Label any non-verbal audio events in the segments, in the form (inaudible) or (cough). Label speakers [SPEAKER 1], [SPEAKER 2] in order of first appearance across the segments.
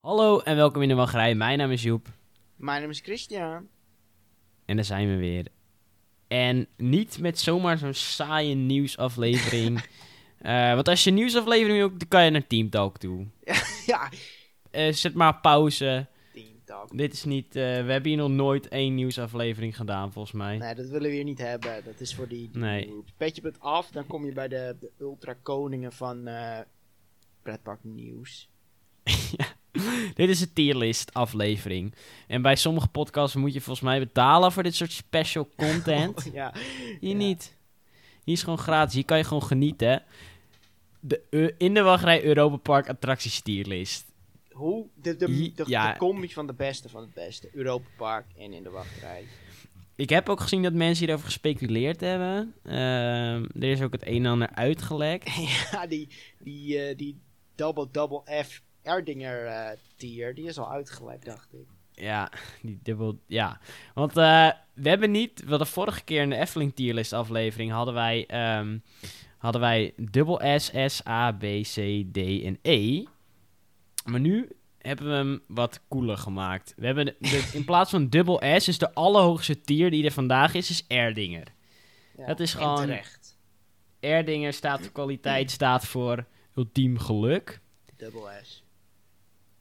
[SPEAKER 1] Hallo en welkom in de Wachtrij. Mijn naam is Joep
[SPEAKER 2] Mijn naam is Christian.
[SPEAKER 1] en daar zijn we weer. En niet met zomaar zo'n saaie nieuwsaflevering. Eh, want als je een nieuwsaflevering wil, dan kan je naar Team Talk toe.
[SPEAKER 2] ja,
[SPEAKER 1] Eh, zet maar op pauze.
[SPEAKER 2] Team Talk.
[SPEAKER 1] Dit is niet. eh, we hebben hier nog nooit één nieuwsaflevering gedaan, volgens mij.
[SPEAKER 2] Nee, dat willen we hier niet hebben. Dat is voor die... die
[SPEAKER 1] Nee.
[SPEAKER 2] groep. Petje af, dan kom je bij de, de ultra koningen van eh pretpark nieuws. (laughs)
[SPEAKER 1] Dit is een tierlist aflevering. En bij sommige podcasts moet je volgens mij betalen voor dit soort special content.
[SPEAKER 2] ja.
[SPEAKER 1] Hier
[SPEAKER 2] Ja.
[SPEAKER 1] niet. Hier is gewoon gratis. Hier kan je gewoon genieten. De, eh, in de wachtrij Europa Park attracties tierlist.
[SPEAKER 2] Hoe, de, de,
[SPEAKER 1] Hi-
[SPEAKER 2] de, de
[SPEAKER 1] ja.
[SPEAKER 2] combi van de beste van het beste. Europa Park en in de wachtrij. (laughs)
[SPEAKER 1] Ik heb ook gezien dat mensen hierover gespeculeerd hebben. Ehm, er is ook het een en ander uitgelekt.
[SPEAKER 2] ja, die, die, eh, die Double Double F Erdinger eh, tier, die is al uitgeleid, dacht ik.
[SPEAKER 1] Ja, (laughs) die dubbel. Ja. Want eh, we hebben niet. Wel, de vorige keer in de Efteling tierlist aflevering hadden wij. ehm, hadden wij dubbel S, S, A, B, C, D en E. Maar nu hebben we hem wat cooler gemaakt. We hebben de- de- in plaats van dubbel S is de allerhoogste tier die er vandaag is, is Erdinger.
[SPEAKER 2] Ja,
[SPEAKER 1] Dat is
[SPEAKER 2] en
[SPEAKER 1] gewoon-
[SPEAKER 2] terecht.
[SPEAKER 1] Erdinger staat voor kwaliteit, staat voor ultiem geluk.
[SPEAKER 2] Double S.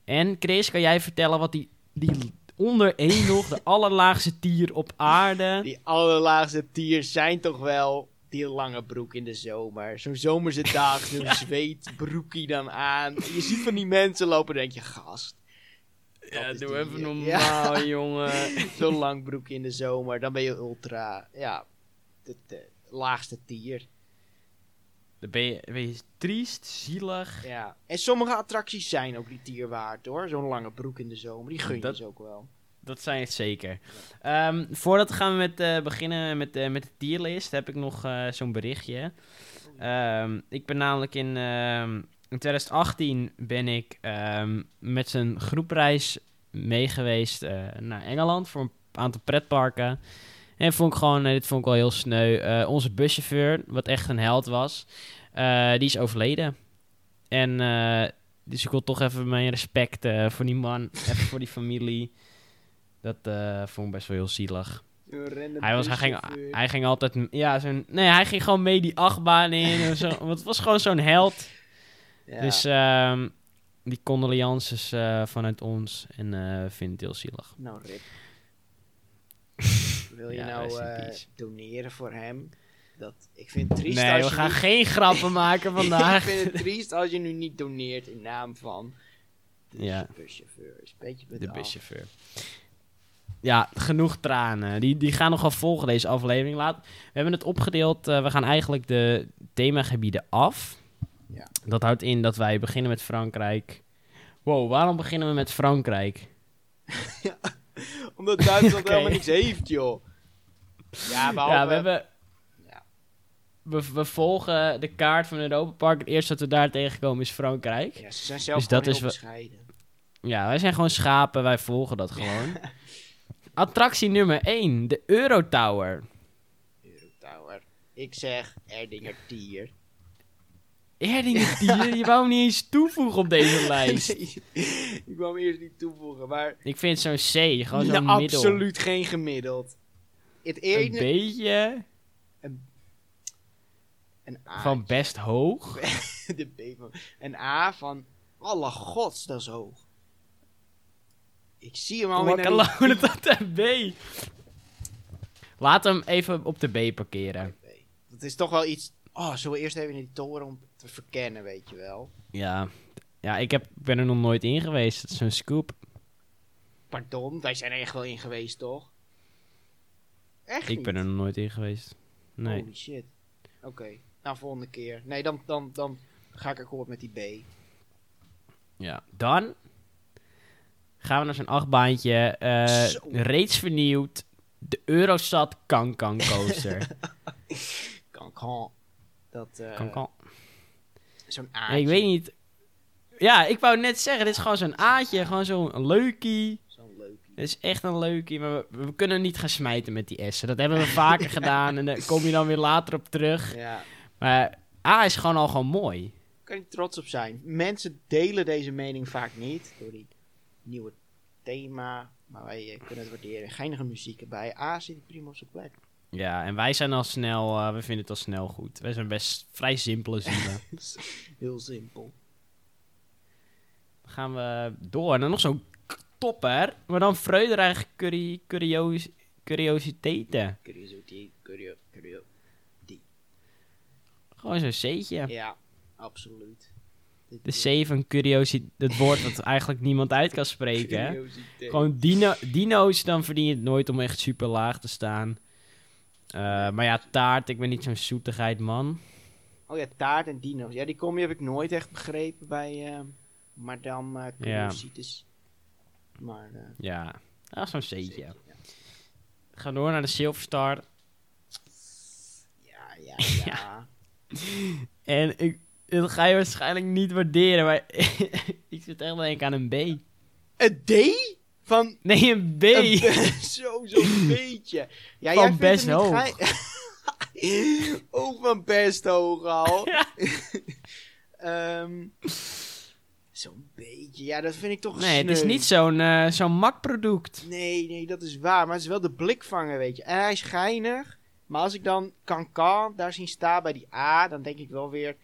[SPEAKER 1] En Chris, kan jij vertellen wat die, die onder E nog, de allerlaagste tier op aarde...
[SPEAKER 2] Die allerlaagste tiers zijn toch wel die lange broek in de zomer. Zo'n zomerse dag,
[SPEAKER 1] (laughs)
[SPEAKER 2] zo'n zweetbroekie dan aan. Je ziet van die mensen lopen en denk je, gast. dat
[SPEAKER 1] Ja,
[SPEAKER 2] is
[SPEAKER 1] doe
[SPEAKER 2] die
[SPEAKER 1] even
[SPEAKER 2] hier.
[SPEAKER 1] normaal,
[SPEAKER 2] (laughs)
[SPEAKER 1] jongen.
[SPEAKER 2] Ja, zo'n lang broek in de zomer, dan ben je ultra, ja, de, de laagste tier.
[SPEAKER 1] Dan ben je, ben je triest, zielig.
[SPEAKER 2] Ja. En sommige attracties zijn ook die tier waard hoor. Zo'n lange broek in de zomer, die gun je
[SPEAKER 1] Dat-
[SPEAKER 2] ze ook wel.
[SPEAKER 1] Dat zijn het zeker. Ehm, voordat gaan we met, eh, beginnen met, eh, met de tierlist, heb ik nog eh, zo'n berichtje. Ehm, ik ben namelijk in, ehm, in 2018 ben ik ehm, met een groepreis meegeweest eh, naar Engeland voor een aantal pretparken. En vond ik gewoon, eh, dit vond ik wel heel sneu. eh, onze buschauffeur, wat echt een held was, eh, die is overleden. En eh, dus ik wil toch even mijn respect eh, voor die man, even voor die familie. Dat eh, vond ik best wel heel zielig. Hij, was, hij, ging, hij ging altijd. m- Ja, zo'n, nee, hij ging gewoon mee die achtbaan in. en
[SPEAKER 2] (laughs)
[SPEAKER 1] zo, want het was gewoon zo'n held.
[SPEAKER 2] Ja.
[SPEAKER 1] Dus ehm, die condolences eh, vanuit ons. En eh, we vinden het heel zielig.
[SPEAKER 2] Nou,
[SPEAKER 1] (laughs)
[SPEAKER 2] Rip. Wil je
[SPEAKER 1] Ja, rest
[SPEAKER 2] nou
[SPEAKER 1] in
[SPEAKER 2] eh,
[SPEAKER 1] peace.
[SPEAKER 2] doneren voor hem? Dat, ik vind het triest
[SPEAKER 1] nee,
[SPEAKER 2] als
[SPEAKER 1] we
[SPEAKER 2] je
[SPEAKER 1] gaan
[SPEAKER 2] niet-
[SPEAKER 1] geen grappen
[SPEAKER 2] (laughs)
[SPEAKER 1] maken vandaag.
[SPEAKER 2] ik vind het triest als je nu niet doneert in naam van de
[SPEAKER 1] Ja.
[SPEAKER 2] buschauffeur. Is een beetje
[SPEAKER 1] De
[SPEAKER 2] bedacht.
[SPEAKER 1] buschauffeur. Ja, genoeg tranen. Die, die gaan nogal volgen deze aflevering. Laat, we hebben het opgedeeld. eh, we gaan eigenlijk de themagebieden af.
[SPEAKER 2] Ja.
[SPEAKER 1] Dat houdt in dat wij beginnen met Frankrijk. Wow, waarom beginnen we met Frankrijk?
[SPEAKER 2] Omdat
[SPEAKER 1] (laughs)
[SPEAKER 2] Duitsland
[SPEAKER 1] Oké.
[SPEAKER 2] helemaal niks heeft, joh. Ja, behalve...
[SPEAKER 1] ja, we hebben.
[SPEAKER 2] Nou, Ja.
[SPEAKER 1] We, we volgen de kaart van Europa Park. Het eerste dat we daar tegenkomen is Frankrijk.
[SPEAKER 2] Ja, ze zijn zelf
[SPEAKER 1] Dus
[SPEAKER 2] gewoon
[SPEAKER 1] dat is
[SPEAKER 2] heel
[SPEAKER 1] wat-
[SPEAKER 2] bescheiden.
[SPEAKER 1] Ja, wij zijn gewoon schapen. Wij volgen dat
[SPEAKER 2] (laughs)
[SPEAKER 1] gewoon. Attractie nummer 1, de Eurotower.
[SPEAKER 2] Eurotower. Ik zeg Erdinger Tier.
[SPEAKER 1] Erdinger Tier, je wou hem niet eens toevoegen op deze lijst.
[SPEAKER 2] (laughs) Nee, ik wou hem eerst niet toevoegen, maar...
[SPEAKER 1] Ik vind zo'n C, gewoon zo'n
[SPEAKER 2] Nou,
[SPEAKER 1] middel.
[SPEAKER 2] absoluut geen gemiddeld. Het
[SPEAKER 1] Een
[SPEAKER 2] ene...
[SPEAKER 1] beetje
[SPEAKER 2] Een A.
[SPEAKER 1] van best hoog.
[SPEAKER 2] (laughs) de B van... Een A van... Alle gods, dat is hoog. Ik zie hem al in
[SPEAKER 1] Wakker
[SPEAKER 2] (laughs) een...
[SPEAKER 1] lonen tot een B. Laat hem even op de B parkeren.
[SPEAKER 2] Dat is toch wel iets... Oh, zullen we eerst even in die toren om te verkennen, weet je wel?
[SPEAKER 1] Ja, ja ik, heb, ik ben er nog nooit in geweest. Dat is een scoop.
[SPEAKER 2] Pardon, wij zijn er echt wel in geweest, toch? Echt
[SPEAKER 1] Ik ben
[SPEAKER 2] niet?
[SPEAKER 1] er nog nooit in geweest. Nee.
[SPEAKER 2] Holy shit. Oké, nou volgende keer. Nee, dan, dan, dan ga ik akkoord met die B.
[SPEAKER 1] Ja. Dan gaan we naar zo'n achtbaantje. eh,
[SPEAKER 2] Zo.
[SPEAKER 1] reeds vernieuwd. De Eurostad
[SPEAKER 2] (laughs)
[SPEAKER 1] Kankan Coaster.
[SPEAKER 2] Kankan. Dat, eh
[SPEAKER 1] Kankan.
[SPEAKER 2] Zo'n
[SPEAKER 1] Ja,
[SPEAKER 2] A.
[SPEAKER 1] ik weet niet. Ja, ik wou net zeggen, dit is gewoon zo'n aatje. Gewoon zo'n leukie.
[SPEAKER 2] Zo'n leukie.
[SPEAKER 1] Dit is echt een leukie, maar we, we kunnen niet gaan smijten met die S'en. Dat (laughs) hebben we vaker gedaan en daar kom je dan weer later op terug.
[SPEAKER 2] Ja,
[SPEAKER 1] Maar A is gewoon al gewoon mooi.
[SPEAKER 2] kan je trots op zijn. Mensen delen deze mening vaak niet. Door die nieuwe thema. Maar wij eh, kunnen het waarderen. Geinige muziek erbij. A zit hij prima op zijn plek.
[SPEAKER 1] Ja, en wij zijn al snel, eh, we vinden het al snel goed. Wij zijn best vrij simpele (laughs) zielen.
[SPEAKER 2] Heel simpel.
[SPEAKER 1] Dan gaan we door. En dan nog zo'n k- topper. Maar dan vreugde curi curiosi curiositeiten.
[SPEAKER 2] Curio, die, curio, curio.
[SPEAKER 1] Gewoon zo'n C'tje.
[SPEAKER 2] Ja, absoluut. Dit is-
[SPEAKER 1] De C van curiositeit. Het woord
[SPEAKER 2] (laughs)
[SPEAKER 1] dat eigenlijk niemand uit kan spreken. hè?
[SPEAKER 2] Curiositeit.
[SPEAKER 1] Gewoon dino dino's, dan verdien je het nooit om echt super laag te staan. Eh, maar ja, taart. Ik ben niet zo'n zoetigheid man.
[SPEAKER 2] Oh ja, taart en dino's. Ja, die combi heb ik nooit echt begrepen bij ehm Madame eh, Curiositas. Maar, eh,
[SPEAKER 1] Ja, dat is zo'n C'tje.
[SPEAKER 2] zeker, ja.
[SPEAKER 1] We gaan door naar de Silverstar.
[SPEAKER 2] Ja,
[SPEAKER 1] (laughs)
[SPEAKER 2] ja, ja.
[SPEAKER 1] En ik, dat ga je waarschijnlijk niet waarderen, maar (laughs) ik zit echt denk aan een B.
[SPEAKER 2] Een D? Van...
[SPEAKER 1] Nee, een B.
[SPEAKER 2] een B- (laughs) zo, zo'n beetje.
[SPEAKER 1] Van
[SPEAKER 2] Ja, jij vindt
[SPEAKER 1] best
[SPEAKER 2] hem niet
[SPEAKER 1] hoog.
[SPEAKER 2] geil. (laughs) Ook van best hoog
[SPEAKER 1] (laughs)
[SPEAKER 2] al. (laughs) Ehm, zo'n beetje. Ja, dat vind ik
[SPEAKER 1] (laughs)
[SPEAKER 2] toch
[SPEAKER 1] nee, het is
[SPEAKER 2] sneu.
[SPEAKER 1] niet zo'n eh zo'n makproduct.
[SPEAKER 2] Nee, nee, dat is waar. Maar het is wel de blikvanger, weet je. En hij is geinig. Maar als ik dan Cancan daar zien staan bij die A, dan denk ik wel weer...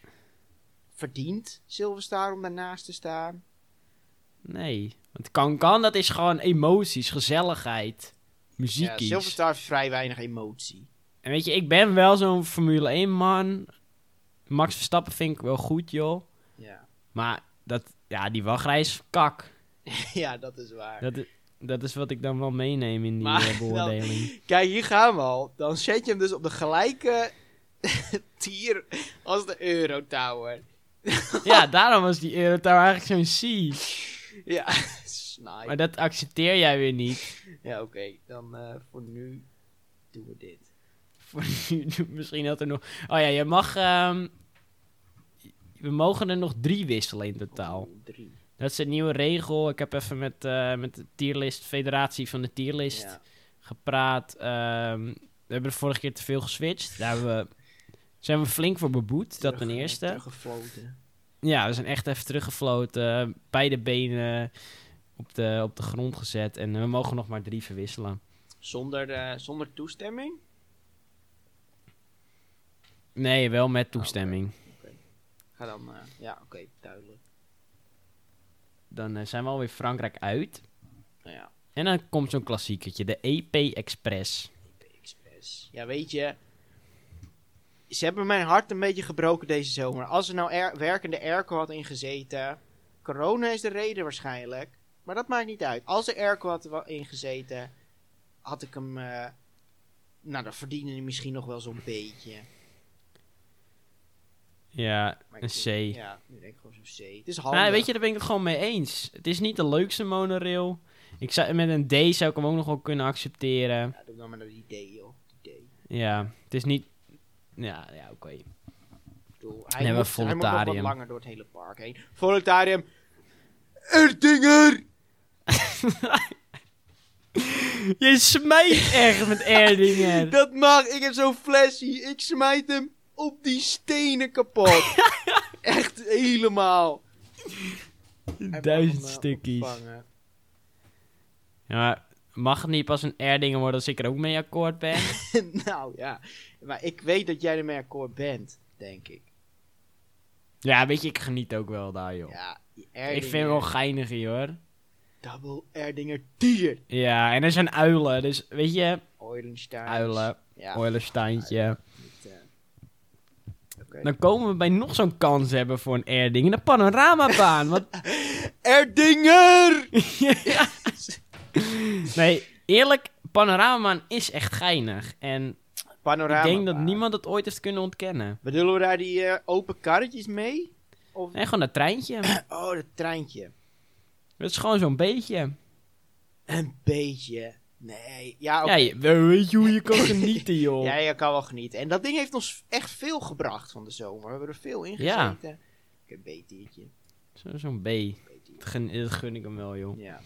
[SPEAKER 2] Verdient Silverstar om daarnaast te staan?
[SPEAKER 1] Nee, want kankan dat is gewoon emoties, gezelligheid,
[SPEAKER 2] Ja,
[SPEAKER 1] muziekies.
[SPEAKER 2] Silverstar heeft vrij weinig emotie.
[SPEAKER 1] en weet je, ik ben wel zo'n Formule 1 man. Max Verstappen vind ik wel goed, joh.
[SPEAKER 2] Ja, (laughs)
[SPEAKER 1] Maar dat, ja, die wachtrij is kak.
[SPEAKER 2] ja dat is waar.
[SPEAKER 1] Dat, i- dat is wat ik dan wel meeneem in die
[SPEAKER 2] Maar
[SPEAKER 1] eh,
[SPEAKER 2] (laughs) wel-
[SPEAKER 1] beoordeling.
[SPEAKER 2] Kijk, hier gaan we al. Dan zet je hem dus op de gelijke (laughs) tier als de Eurotower.
[SPEAKER 1] Ja, daarom was die Eurotower eigenlijk zo'n C.
[SPEAKER 2] Ja, (laughs) snipe.
[SPEAKER 1] Maar dat accepteer jij weer niet. (laughs)
[SPEAKER 2] Ja, oké. Dan eh, voor nu doen we dit.
[SPEAKER 1] Voor nu- Misschien dat er nog... Oh ja, je mag... ehm, We mogen er nog drie wisselen in totaal.
[SPEAKER 2] Drie.
[SPEAKER 1] Dat is een nieuwe regel. Ik heb even met, eh, met de tierlist, federatie van de tierlist,
[SPEAKER 2] Ja.
[SPEAKER 1] gepraat. Ehm, we hebben de vorige keer te veel geswitcht. Daar hebben we, zijn we flink voor beboet, dat ten
[SPEAKER 2] Terug-
[SPEAKER 1] eerste.
[SPEAKER 2] Teruggefloten.
[SPEAKER 1] Ja, we zijn echt even teruggefloten. eh, Beide benen op de, op de grond gezet. En we mogen nog maar drie verwisselen.
[SPEAKER 2] Zonder, eh, zonder toestemming?
[SPEAKER 1] Nee, wel
[SPEAKER 2] Nou,
[SPEAKER 1] met toestemming.
[SPEAKER 2] Ga dan, eh, ja, oké, duidelijk.
[SPEAKER 1] Dan eh, zijn we alweer Frankrijk uit.
[SPEAKER 2] Nou ja,
[SPEAKER 1] En dan komt zo'n klassiekertje, de EP Express.
[SPEAKER 2] EP Express. Ja, weet je, ze hebben mijn hart een beetje gebroken deze zomer. Als er nou air- werkende airco had ingezeten, corona is de reden waarschijnlijk, maar dat maakt niet uit. Als er airco had wa- ingezeten, had ik hem, eh, nou, dan verdiende hij misschien nog wel zo'n beetje.
[SPEAKER 1] Ja,
[SPEAKER 2] Maar
[SPEAKER 1] een
[SPEAKER 2] ik
[SPEAKER 1] C.
[SPEAKER 2] denk- Ja, nu denk ik gewoon zo'n C. Het is handig.
[SPEAKER 1] Nou, weet je, daar ben ik het gewoon mee eens. Het is niet de leukste monorail. Ik zou, met een D zou ik hem ook nog wel kunnen accepteren.
[SPEAKER 2] Ja, doe dan maar naar die D, joh. Die D.
[SPEAKER 1] Ja, het is niet... Ja, ja oké.
[SPEAKER 2] Ik bedoel,
[SPEAKER 1] Nee,
[SPEAKER 2] hij,
[SPEAKER 1] maar
[SPEAKER 2] moet, hij moet nog wat
[SPEAKER 1] Voletarium.
[SPEAKER 2] langer door het hele park heen. Voletarium. Erdinger!
[SPEAKER 1] Je smijt echt (laughs) met Erdinger.
[SPEAKER 2] Dat mag. Ik heb zo'n flesje. Ik smijt hem op die stenen
[SPEAKER 1] (laughs)
[SPEAKER 2] kapot. Echt helemaal. Hij mag
[SPEAKER 1] Duizend
[SPEAKER 2] hem, eh,
[SPEAKER 1] stukjes.
[SPEAKER 2] opvangen.
[SPEAKER 1] Ja, maar mag het niet pas een Erdinger worden als ik er ook mee akkoord (laughs) ben?
[SPEAKER 2] (laughs) nou ja. Maar ik weet dat jij ermee akkoord bent, denk ik.
[SPEAKER 1] ja, weet je, ik geniet ook wel daar, joh.
[SPEAKER 2] Ja, die
[SPEAKER 1] ik
[SPEAKER 2] Erdinger.
[SPEAKER 1] vind hem wel geinig, hier, hoor.
[SPEAKER 2] Double Erdinger Tier.
[SPEAKER 1] Ja, en er zijn uilen. Dus weet je,
[SPEAKER 2] Oilenstein.
[SPEAKER 1] uilen,
[SPEAKER 2] Ja.
[SPEAKER 1] Oilersteintje.
[SPEAKER 2] niet, eh. Oké.
[SPEAKER 1] Dan komen we bij nog zo'n kans hebben voor een Erding. De panoramabaan.
[SPEAKER 2] (laughs)
[SPEAKER 1] Want, (laughs)
[SPEAKER 2] Erdinger!
[SPEAKER 1] nee, eerlijk, panoramabaan is echt geinig. En
[SPEAKER 2] Panorama.
[SPEAKER 1] ik denk dat
[SPEAKER 2] baan.
[SPEAKER 1] niemand het ooit heeft kunnen ontkennen.
[SPEAKER 2] Bedoelen we daar die eh, open karretjes mee? Of...
[SPEAKER 1] Nee, gewoon dat treintje.
[SPEAKER 2] Oh, dat treintje.
[SPEAKER 1] Dat is gewoon zo'n beetje.
[SPEAKER 2] Een beetje. Nee. Ja, oké.
[SPEAKER 1] Ja, je, weet je hoe je kan genieten, joh.
[SPEAKER 2] ja, je kan wel genieten. En dat ding heeft ons echt veel gebracht van de zomer. We hebben er veel in
[SPEAKER 1] Ja.
[SPEAKER 2] gezeten. Ik heb een B-tiertje.
[SPEAKER 1] Zo- Zo'n B. Dat gun, dat gun ik hem wel, joh.
[SPEAKER 2] Ja.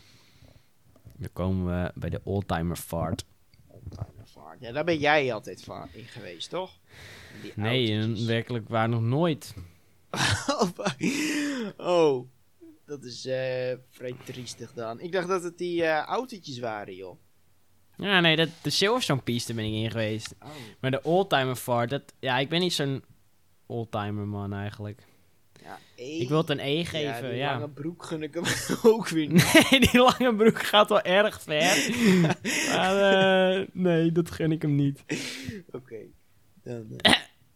[SPEAKER 1] Dan komen we bij de oldtimer fart.
[SPEAKER 2] Fijne vaart. ja, daar ben jij altijd van in geweest, toch? In die
[SPEAKER 1] Nee,
[SPEAKER 2] (laughs) autootjes.
[SPEAKER 1] werkelijk waar nog nooit.
[SPEAKER 2] oh. Dat is eh, vrij triestig dan. Ik dacht dat het die eh, autootjes waren, joh.
[SPEAKER 1] Ja, nee, dat, de Silverstone piste ben ik in geweest.
[SPEAKER 2] Oh.
[SPEAKER 1] Maar de oldtimer fart, dat... Ja, ik ben niet zo'n oldtimer man eigenlijk.
[SPEAKER 2] Ja,
[SPEAKER 1] Ik wil het een E geven,
[SPEAKER 2] die
[SPEAKER 1] ja. (laughs)
[SPEAKER 2] lange broek gun ik hem (laughs) ook weer niet.
[SPEAKER 1] Nee, die lange broek gaat wel erg
[SPEAKER 2] (laughs)
[SPEAKER 1] ver. maar, eh, nee, dat gun ik hem niet.
[SPEAKER 2] Oké. Dan, eh,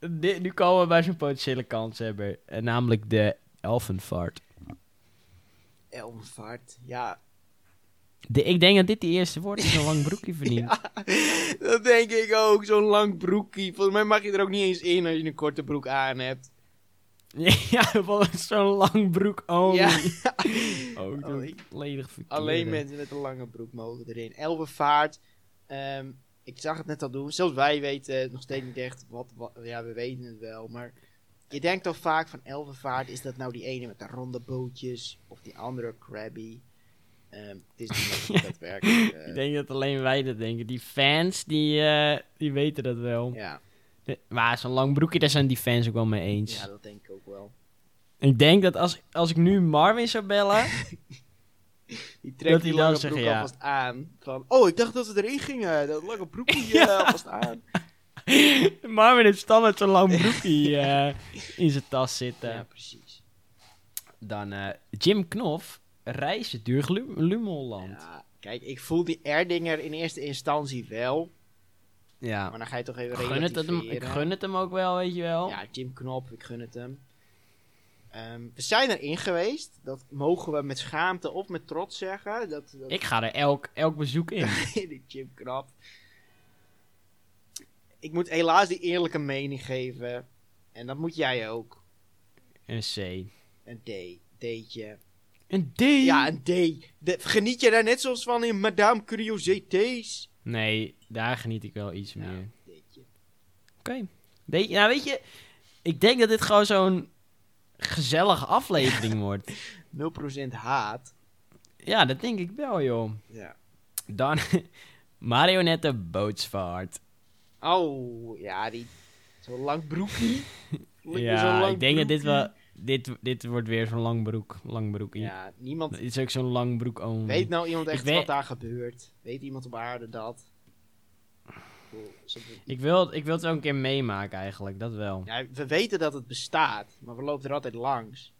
[SPEAKER 1] Di- nu komen we bij zo'n potentiële kanshebber. hebben namelijk de elfenvaart.
[SPEAKER 2] Elmvaart. Ja,
[SPEAKER 1] De, ik denk dat dit de eerste wordt die zo'n lang
[SPEAKER 2] (laughs)
[SPEAKER 1] broekje verdient.
[SPEAKER 2] dat denk ik ook. Zo'n lang broekie. Volgens mij mag je er ook niet eens in als je een korte broek aan hebt.
[SPEAKER 1] (laughs) Ja, wat is zo'n lang broek only.
[SPEAKER 2] Ja.
[SPEAKER 1] Oh, ik doe
[SPEAKER 2] Alleen-
[SPEAKER 1] het volledig verkeerd.
[SPEAKER 2] Alleen mensen met een lange broek mogen erin. Elbevaart. ehm, ik zag het net al doen. Zelfs wij weten het nog steeds niet echt wat, wat- Ja, we weten het wel. Maar je denkt al vaak van Elbevaart. Is dat nou die ene met de ronde bootjes? Of die andere Krabby? Ehm, het is niet mogelijk daadwerkelijk. eh,
[SPEAKER 1] Ik denk dat alleen wij dat denken. Die fans, die, eh, die weten dat wel.
[SPEAKER 2] ja.
[SPEAKER 1] De- Maar zo'n lang broekje, daar zijn die fans ook wel mee eens.
[SPEAKER 2] ja, dat denk ik ook wel.
[SPEAKER 1] Ik denk dat als, als ik nu Marvin zou bellen... (laughs)
[SPEAKER 2] Die
[SPEAKER 1] Dat
[SPEAKER 2] trekt
[SPEAKER 1] die
[SPEAKER 2] die
[SPEAKER 1] dan
[SPEAKER 2] lange
[SPEAKER 1] zeggen,
[SPEAKER 2] broek
[SPEAKER 1] ja.
[SPEAKER 2] alvast aan. Van, oh, ik dacht dat we erin gingen. Dat lange broekje
[SPEAKER 1] (laughs) Ja.
[SPEAKER 2] eh, alvast aan.
[SPEAKER 1] Marvin heeft standaard zo'n lang broekje
[SPEAKER 2] (laughs)
[SPEAKER 1] eh, in zijn tas zitten.
[SPEAKER 2] Ja, precies.
[SPEAKER 1] Dan eh, Jim Knof, reizen door Glu- Lummelland.
[SPEAKER 2] Ja, kijk, ik voel die Erdinger in eerste instantie wel.
[SPEAKER 1] Ja.
[SPEAKER 2] Maar dan ga je toch even
[SPEAKER 1] Ik gun, het hem, ik
[SPEAKER 2] relativeren.
[SPEAKER 1] gun het hem ook wel, weet je wel.
[SPEAKER 2] Ja, Jim Knop, ik gun het hem. Ehm, we zijn erin geweest. Dat mogen we met schaamte of met trots zeggen. Dat, dat
[SPEAKER 1] Ik ga er elk, elk bezoek in.
[SPEAKER 2] (laughs) die Jim Knop. Ik moet helaas die eerlijke mening geven. En dat moet jij ook.
[SPEAKER 1] Een C.
[SPEAKER 2] Een D. D'tje.
[SPEAKER 1] Een D?
[SPEAKER 2] Ja, een D. De- geniet je daar net zoals van in Madame Curiosité's?
[SPEAKER 1] Nee, daar geniet ik wel iets meer.
[SPEAKER 2] Ja, D'tje.
[SPEAKER 1] Oké. Weet je, nou weet je, ik denk dat dit gewoon zo'n gezellige (laughs) aflevering wordt.
[SPEAKER 2] 0% haat.
[SPEAKER 1] Ja, dat denk ik wel, joh.
[SPEAKER 2] Ja.
[SPEAKER 1] Dan (laughs) Marionette Bootsvaart.
[SPEAKER 2] Oh, ja, die... Zo'n lang broekie. (laughs) Lekker zo'n
[SPEAKER 1] Ja,
[SPEAKER 2] lang
[SPEAKER 1] ik denk dat dit
[SPEAKER 2] broekie.
[SPEAKER 1] wel... Dit, dit wordt weer zo'n lang broek. Lang broekie.
[SPEAKER 2] Ja, niemand...
[SPEAKER 1] Dit is ook zo'n lang broek only.
[SPEAKER 2] Weet nou iemand echt
[SPEAKER 1] weet-
[SPEAKER 2] wat daar gebeurt? Weet iemand op aarde dat? Ik bedoel, ze-
[SPEAKER 1] Ik wil, ik wil het wel een keer meemaken eigenlijk, dat wel.
[SPEAKER 2] Ja, we weten dat het bestaat, maar we lopen er altijd langs.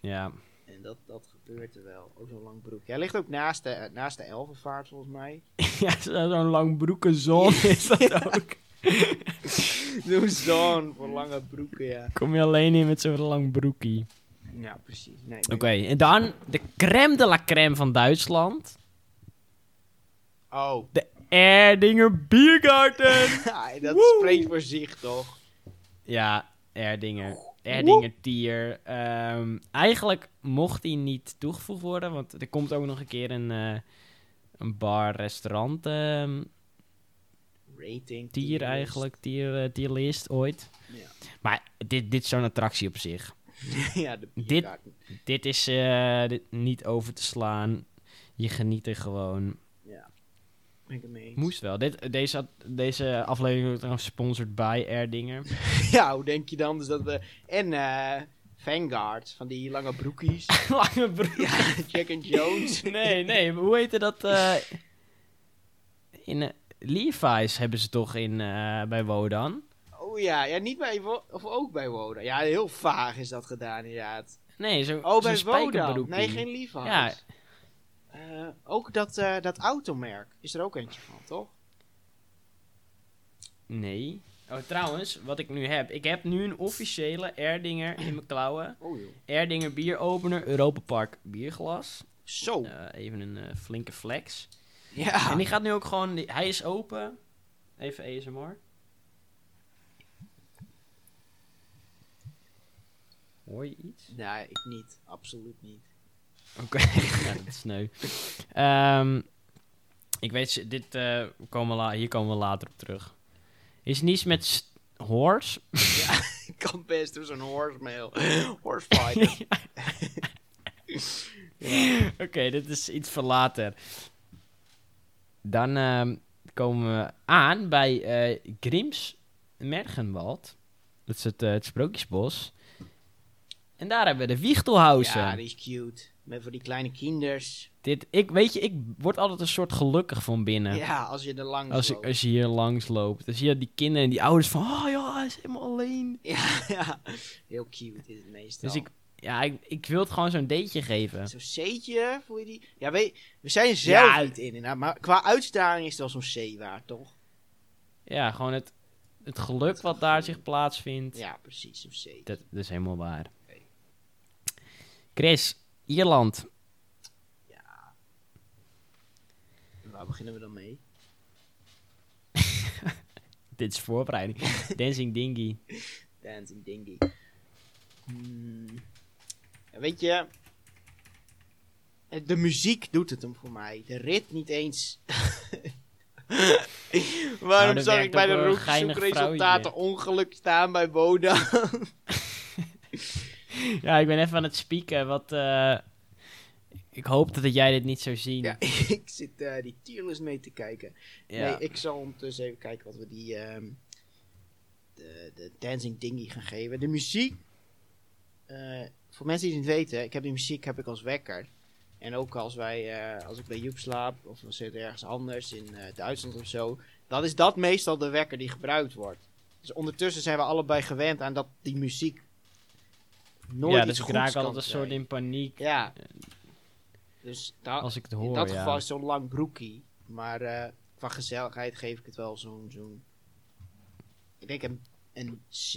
[SPEAKER 1] Ja. (laughs)
[SPEAKER 2] En dat, dat gebeurt er wel. Ook zo'n lang broek. Hij ligt ook naast de, naast de elfenvaart, volgens (laughs) mij.
[SPEAKER 1] Ja, zo- zo'n lang broekenzon is (laughs) dat ook.
[SPEAKER 2] Zo'n zo'n voor lange broeken, ja.
[SPEAKER 1] Kom je alleen in met zo'n lang broekie.
[SPEAKER 2] Ja, precies. Nee,
[SPEAKER 1] Oké, en dan de crème de la crème van Duitsland.
[SPEAKER 2] Oh,
[SPEAKER 1] De Erdinger
[SPEAKER 2] (laughs)
[SPEAKER 1] Biergarten.
[SPEAKER 2] ja, dat
[SPEAKER 1] Woe!
[SPEAKER 2] spreekt voor zich toch?
[SPEAKER 1] ja, Erdinger. Erdinger tier. Ehm, eigenlijk mocht die niet toegevoegd worden, want er komt ook nog een keer een, eh, een bar, restaurant ehm,
[SPEAKER 2] Rating.
[SPEAKER 1] tier eigenlijk, tier, eh, tierlist ooit.
[SPEAKER 2] Ja.
[SPEAKER 1] Maar dit, dit is zo'n attractie op zich.
[SPEAKER 2] (laughs) ja, de
[SPEAKER 1] Dit-
[SPEAKER 2] biergarten.
[SPEAKER 1] Dit is eh, dit niet over te slaan. Je geniet er gewoon.
[SPEAKER 2] Ben ik het mee eens.
[SPEAKER 1] Moest wel. Dit, deze, ad- deze aflevering wordt trouwens gesponsord bij Erdinger.
[SPEAKER 2] (laughs)
[SPEAKER 1] (laughs)
[SPEAKER 2] Ja, hoe denk je dan? Dus dat we... En eh Vanguard, van die lange
[SPEAKER 1] (laughs)
[SPEAKER 2] broekies.
[SPEAKER 1] Lange broek.
[SPEAKER 2] ja, (laughs) Jack and Jones.
[SPEAKER 1] Nee, nee. maar Hoe heette dat? eh, in eh, Levi's hebben ze toch in, eh, bij Wodan?
[SPEAKER 2] Oh ja, ja niet bij... Wo- of ook bij Woda. Ja, heel vaag is dat gedaan inderdaad.
[SPEAKER 1] Nee, zo,
[SPEAKER 2] Oh,
[SPEAKER 1] zo'n
[SPEAKER 2] bij Woda.
[SPEAKER 1] spijkerbroek.
[SPEAKER 2] Nee, geen Levi's.
[SPEAKER 1] Ja.
[SPEAKER 2] Eh, ook dat, eh, dat automerk is er ook eentje van, toch?
[SPEAKER 1] Nee. Oh, trouwens, wat ik nu heb. Ik heb nu een officiële Erdinger in mijn klauwen.
[SPEAKER 2] Oh joh.
[SPEAKER 1] Erdinger bieropener, Europa Park bierglas.
[SPEAKER 2] Zo.
[SPEAKER 1] Eh, even een eh, flinke flex.
[SPEAKER 2] Ja.
[SPEAKER 1] En die gaat nu ook gewoon... die- hij is open. Even ASMR. Hoor je iets?
[SPEAKER 2] Nee, ik niet. Absoluut niet.
[SPEAKER 1] Oké, (laughs) ja, dat is sneu. Ehm, ik weet, ze- dit, eh, komen we la- hier komen we later op terug. Is het niets met st- horse?
[SPEAKER 2] Ik kan best dus een horsemail. Horsefighter.
[SPEAKER 1] (laughs) Oké, dit is iets voor later. Dan ehm, komen we aan bij eh, Grims Mergenwald. Dat is het, eh, het Sprookjesbos. En daar hebben we de Wiechtelhausen.
[SPEAKER 2] Ja, die is cute. Met voor die kleine kinders.
[SPEAKER 1] Dit, ik, weet je, ik word altijd een soort gelukkig van binnen.
[SPEAKER 2] Ja, als je er langs
[SPEAKER 1] Als, ik,
[SPEAKER 2] loopt.
[SPEAKER 1] als je hier langs loopt. Dan zie je die kinderen en die ouders van... Oh ja, hij is helemaal alleen.
[SPEAKER 2] Ja, ja. Heel cute is het meestal.
[SPEAKER 1] Dus ik... Ja, ik, ik wil het gewoon zo'n dateje geven.
[SPEAKER 2] Zo'n C'tje, voel je die? Ja, weet, we zijn er zelf
[SPEAKER 1] Ja.
[SPEAKER 2] niet in, inderdaad, maar qua uitstraling is het wel zo'n C waard, toch?
[SPEAKER 1] Ja, gewoon het, het geluk wat daar zich plaatsvindt.
[SPEAKER 2] Ja, precies, zo'n C.
[SPEAKER 1] Dat, dat is helemaal waar. Chris, Ierland.
[SPEAKER 2] Waar beginnen we dan mee?
[SPEAKER 1] Dit is
[SPEAKER 2] (laughs)
[SPEAKER 1] voorbereiding. Dancing Dingy.
[SPEAKER 2] Dancing Dingy. Hmm. Ja, weet je, de muziek doet het hem voor mij. De rit niet eens. (laughs) Waarom
[SPEAKER 1] dat Nou,
[SPEAKER 2] zag
[SPEAKER 1] werkt
[SPEAKER 2] ik bij
[SPEAKER 1] op
[SPEAKER 2] de
[SPEAKER 1] een geinig
[SPEAKER 2] rookzoekresultaten ongeluk staan bij Boda? (laughs)
[SPEAKER 1] Ja, ik ben even aan het spieken. Wat, eh, ik hoop dat jij dit niet zou zien.
[SPEAKER 2] ja, ik zit eh, die tierlist mee te kijken.
[SPEAKER 1] Ja.
[SPEAKER 2] Nee, ik zal ondertussen even kijken wat we die ehm, de, de Dancing Dingy gaan geven. De muziek, eh, voor mensen die het niet weten, ik heb die muziek heb ik als wekker. En ook als, wij, eh, als ik bij Joep slaap of we zitten ergens anders in eh, Duitsland of zo, dan is dat meestal de wekker die gebruikt wordt. Dus ondertussen zijn we allebei gewend aan dat die muziek nooit
[SPEAKER 1] ja,
[SPEAKER 2] iets
[SPEAKER 1] dus ik
[SPEAKER 2] goeds
[SPEAKER 1] raak
[SPEAKER 2] kan
[SPEAKER 1] altijd een soort
[SPEAKER 2] zijn.
[SPEAKER 1] in paniek
[SPEAKER 2] Ja. Dus daar,
[SPEAKER 1] als ik het hoor.
[SPEAKER 2] in dat
[SPEAKER 1] ja.
[SPEAKER 2] geval is het zo'n lang broekie. Maar eh, qua gezelligheid geef ik het wel zo'n... zo'n ik denk een, een C.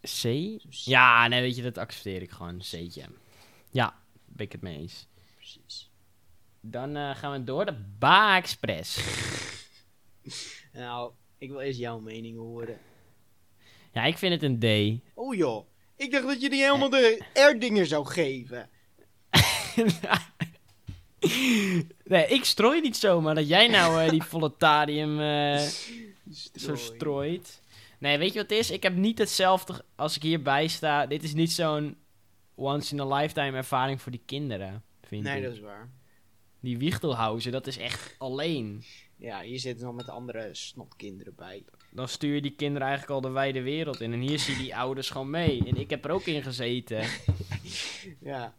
[SPEAKER 1] C?
[SPEAKER 2] Zo'n C,
[SPEAKER 1] Ja, nee, weet je, dat accepteer ik gewoon. Een C'tje. Ja, ben ik het mee eens.
[SPEAKER 2] Precies.
[SPEAKER 1] Dan eh, gaan we door. De Ba Express.
[SPEAKER 2] Nou, ik wil eerst jouw mening horen.
[SPEAKER 1] ja, ik vind het een
[SPEAKER 2] (laughs)
[SPEAKER 1] D.
[SPEAKER 2] Oh joh, ik dacht dat je die
[SPEAKER 1] Eh.
[SPEAKER 2] helemaal de Erdinger zou geven.
[SPEAKER 1] nee, ik strooi niet zomaar. Dat jij nou
[SPEAKER 2] (laughs)
[SPEAKER 1] eh, die voletarium eh zo
[SPEAKER 2] Strooi.
[SPEAKER 1] strooit. Nee, weet je wat het is? Ik heb niet hetzelfde ge- als ik hierbij sta. Dit is niet zo'n once in a lifetime ervaring voor die kinderen. Vind
[SPEAKER 2] Nee,
[SPEAKER 1] ik.
[SPEAKER 2] dat is waar.
[SPEAKER 1] Die wiechtelhausen, dat is echt alleen.
[SPEAKER 2] Ja, hier zitten nog met andere snopkinderen bij.
[SPEAKER 1] Dan stuur je die kinderen eigenlijk al de wijde wereld in. En hier zie je die ouders gewoon mee. En ik heb er ook in gezeten.
[SPEAKER 2] Ja,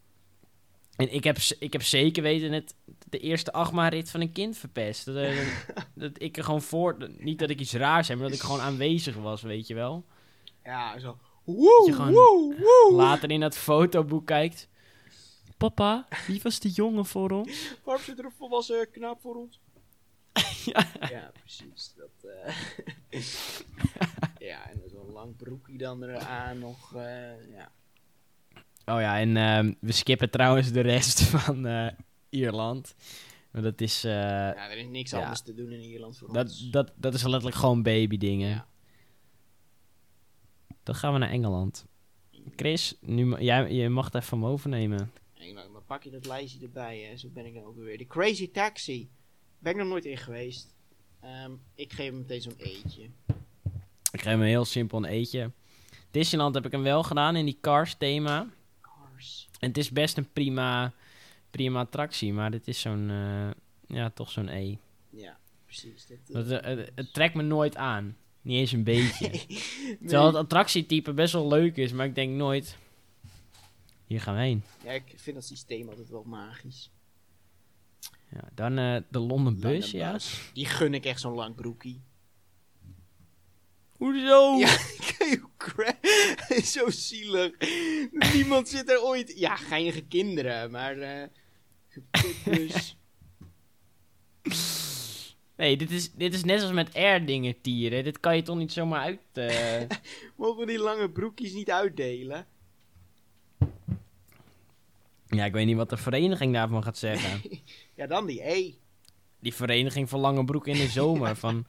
[SPEAKER 1] En ik heb, z- ik heb zeker weten het, de eerste achtmaanrit van een kind verpest. Dat, eh, dat- dat ik er gewoon voor... dat- Niet dat ik iets raars heb, maar dat ik gewoon aanwezig was, weet je wel.
[SPEAKER 2] ja zo...
[SPEAKER 1] je
[SPEAKER 2] Woe,
[SPEAKER 1] gewoon
[SPEAKER 2] woe, woe.
[SPEAKER 1] Later in dat fotoboek kijkt... Papa, wie was die jongen voor ons?
[SPEAKER 2] Waarom zit er een volwassen knaap voor ons?
[SPEAKER 1] (laughs) Ja.
[SPEAKER 2] Ja, precies. Dat, eh, (laughs) ja, en zo'n lang broekje dan eraan nog. eh, ja.
[SPEAKER 1] Oh ja, en ehm, we skippen trouwens de rest (laughs) van eh, Ierland. Want dat is... eh,
[SPEAKER 2] ja, er is niks
[SPEAKER 1] ja.
[SPEAKER 2] anders te doen in Ierland voor
[SPEAKER 1] dat,
[SPEAKER 2] ons.
[SPEAKER 1] dat, dat is letterlijk gewoon baby dingen.
[SPEAKER 2] Ja.
[SPEAKER 1] Dan gaan we naar Engeland. Chris, nu, ma- jij, je mag het even van me overnemen.
[SPEAKER 2] En dan, dan pak je dat lijstje erbij, hè. zo ben ik dan ook weer. De Crazy Taxi. Ben ik nog nooit in geweest. Ehm, ik geef hem meteen zo'n eetje.
[SPEAKER 1] Ik geef hem een heel simpel een eetje. Disneyland heb ik hem wel gedaan in die Cars thema.
[SPEAKER 2] Cars.
[SPEAKER 1] En het is best een prima, prima attractie, maar dit is zo'n, eh, ja, toch zo'n E.
[SPEAKER 2] Ja, precies. Dat, eh,
[SPEAKER 1] Dat, eh, het, het trekt me nooit aan. Niet eens een beetje. Terwijl
[SPEAKER 2] nee.
[SPEAKER 1] het attractietype best wel leuk is, maar ik denk nooit, hier gaan we heen.
[SPEAKER 2] ja, ik vind dat systeem altijd wel magisch.
[SPEAKER 1] Ja, dan eh, de London
[SPEAKER 2] London
[SPEAKER 1] Bus, ja.
[SPEAKER 2] Die gun ik echt zo'n lang broekie.
[SPEAKER 1] Hoezo?
[SPEAKER 2] Ja, kijk hoe (laughs) cra- Zo zielig. Niemand zit er ooit... Ja, geinige kinderen, maar... eh, gekut dus.
[SPEAKER 1] Nee, dit is, dit is net als met air dingen tieren. Dit kan je toch niet zomaar uit... eh,
[SPEAKER 2] Mogen we die lange broekjes niet uitdelen?
[SPEAKER 1] ja, ik weet niet wat de vereniging daarvan gaat zeggen.
[SPEAKER 2] Ja, dan die E.
[SPEAKER 1] Die vereniging van lange broeken in de zomer. Van,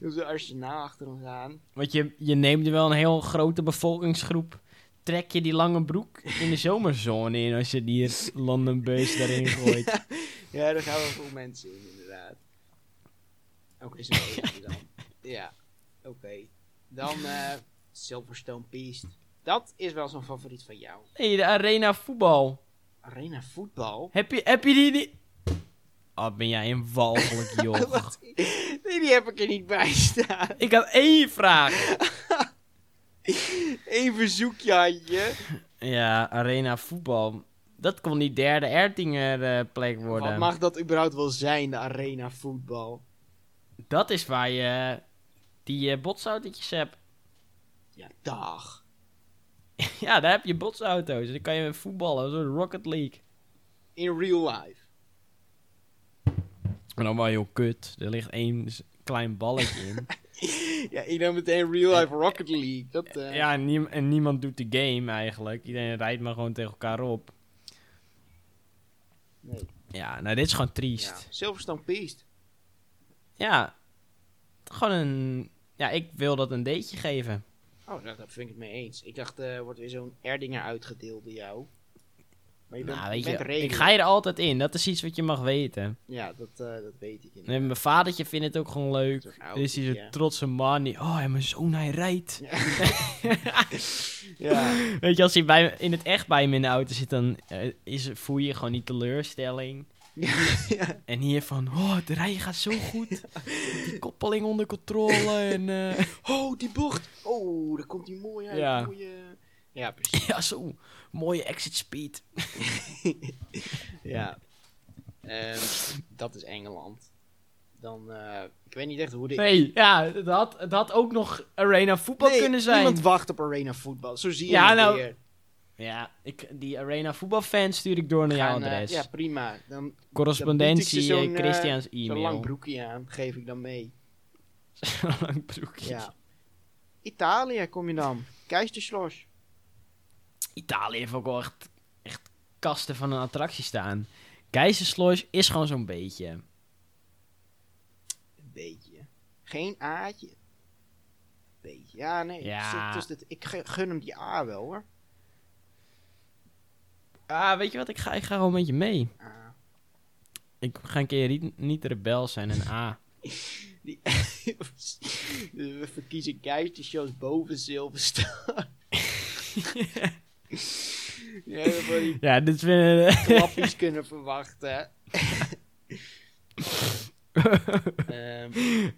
[SPEAKER 2] Doe zo'n arsenaal achter ons aan.
[SPEAKER 1] want je, je neemt er wel een heel grote bevolkingsgroep. Trek je die lange broek in de zomerzone in als je die London Bus daarin gooit.
[SPEAKER 2] Ja, daar gaan wel veel mensen in, inderdaad. Oké, zo is dan. Ja, oké. Dan eh, Silverstone Beast. Dat is wel zo'n favoriet van jou.
[SPEAKER 1] hey, de arena voetbal.
[SPEAKER 2] Arena voetbal?
[SPEAKER 1] Heb je, heb je die niet... Oh, ben jij een
[SPEAKER 2] (laughs)
[SPEAKER 1] walgelijk joch.
[SPEAKER 2] Wat? Nee, die heb ik er niet bij staan.
[SPEAKER 1] Ik had één vraag.
[SPEAKER 2] (laughs) Eén verzoekje had je.
[SPEAKER 1] Ja, Arena Voetbal. Dat kon die derde Ertinger eh, plek worden.
[SPEAKER 2] Wat mag dat überhaupt wel zijn, de arena voetbal?
[SPEAKER 1] Dat is waar je die eh, botsautootjes hebt. (laughs)
[SPEAKER 2] Ja, dag.
[SPEAKER 1] ja, daar heb je botsauto's. Dan kan je voetballen, zo'n Rocket League.
[SPEAKER 2] In real life. (laughs)
[SPEAKER 1] En dan wel heel kut. Er ligt één s- klein balletje in.
[SPEAKER 2] Ja, ik neem meteen real life Rocket League. Dat, eh,
[SPEAKER 1] ja, en, niem- en niemand doet de game eigenlijk. Iedereen rijdt maar gewoon tegen elkaar op.
[SPEAKER 2] Nee.
[SPEAKER 1] Ja, nou dit is gewoon
[SPEAKER 2] ja.
[SPEAKER 1] triest.
[SPEAKER 2] Silverstone Beast.
[SPEAKER 1] Ja. Gewoon een... Ja, ik wil dat een dateje geven.
[SPEAKER 2] Oh, nou, daar vind ik het mee eens. Ik dacht, eh wordt weer zo'n Erdinger uitgedeeld door jou. Maar je bent,
[SPEAKER 1] nou,
[SPEAKER 2] je
[SPEAKER 1] weet je,
[SPEAKER 2] bent redelijk.
[SPEAKER 1] ik ga je er altijd in. Dat is iets wat je mag weten.
[SPEAKER 2] Ja, dat, eh, dat weet ik
[SPEAKER 1] En
[SPEAKER 2] inderdaad.
[SPEAKER 1] mijn vadertje vindt het ook gewoon leuk.
[SPEAKER 2] Zo'n
[SPEAKER 1] Dus is
[SPEAKER 2] oudje,
[SPEAKER 1] hij
[SPEAKER 2] ja.
[SPEAKER 1] zo'n trotse man. Die, oh, en mijn zoon, hij rijdt.
[SPEAKER 2] Ja,
[SPEAKER 1] (laughs)
[SPEAKER 2] (laughs)
[SPEAKER 1] Weet je, als hij bij, in het echt bij hem in de auto zit, dan eh, is, voel je gewoon die teleurstelling.
[SPEAKER 2] ja.
[SPEAKER 1] En hier van, oh, het rijden gaat zo
[SPEAKER 2] (laughs)
[SPEAKER 1] goed. Die koppeling onder controle. En, eh, (laughs)
[SPEAKER 2] Oh, die bocht. Oh, daar komt die mooi uit.
[SPEAKER 1] Ja.
[SPEAKER 2] Mooie... Ja, precies.
[SPEAKER 1] ja, zo. Mooie exit speed.
[SPEAKER 2] Ja. Ehm, dat is Engeland. Dan, eh, ik weet niet echt hoe dit...
[SPEAKER 1] Nee, ja, het had, het had ook nog arena voetbal
[SPEAKER 2] Nee,
[SPEAKER 1] kunnen zijn.
[SPEAKER 2] niemand wacht op arena voetbal. Zo zie je
[SPEAKER 1] Ja,
[SPEAKER 2] het
[SPEAKER 1] nou,
[SPEAKER 2] weer.
[SPEAKER 1] Ja, ik, die arena voetbalfan stuur ik door naar jouw
[SPEAKER 2] Gaan, eh,
[SPEAKER 1] adres.
[SPEAKER 2] ja, prima. Dan
[SPEAKER 1] Correspondentie,
[SPEAKER 2] dan bied ik ze
[SPEAKER 1] eh,
[SPEAKER 2] zo'n, eh,
[SPEAKER 1] Christians
[SPEAKER 2] zo'n
[SPEAKER 1] e-mail.
[SPEAKER 2] lang broekje aan geef ik dan
[SPEAKER 1] (laughs)
[SPEAKER 2] mee.
[SPEAKER 1] Zo'n (laughs) lang broekje.
[SPEAKER 2] Ja. Italië kom je dan. Keizerslos.
[SPEAKER 1] Italië heeft ook wel echt, echt kasten van een attractie staan. Keizersloos is gewoon zo'n beetje.
[SPEAKER 2] Een beetje. Geen A'tje. Beetje. Ja, nee.
[SPEAKER 1] Ja.
[SPEAKER 2] het is- het is dit- ik ge- gun hem die A wel hoor.
[SPEAKER 1] Ah, weet je wat? Ik ga, ik ga gewoon met je mee.
[SPEAKER 2] A.
[SPEAKER 1] Ik ga een keer niet, niet rebel zijn en A.
[SPEAKER 2] Die We verkiezen Keizerslos boven (laughs) Silverstone. ja, dat we die
[SPEAKER 1] Ja, dit vinden
[SPEAKER 2] klappies kunnen verwachten. (laughs) Ehm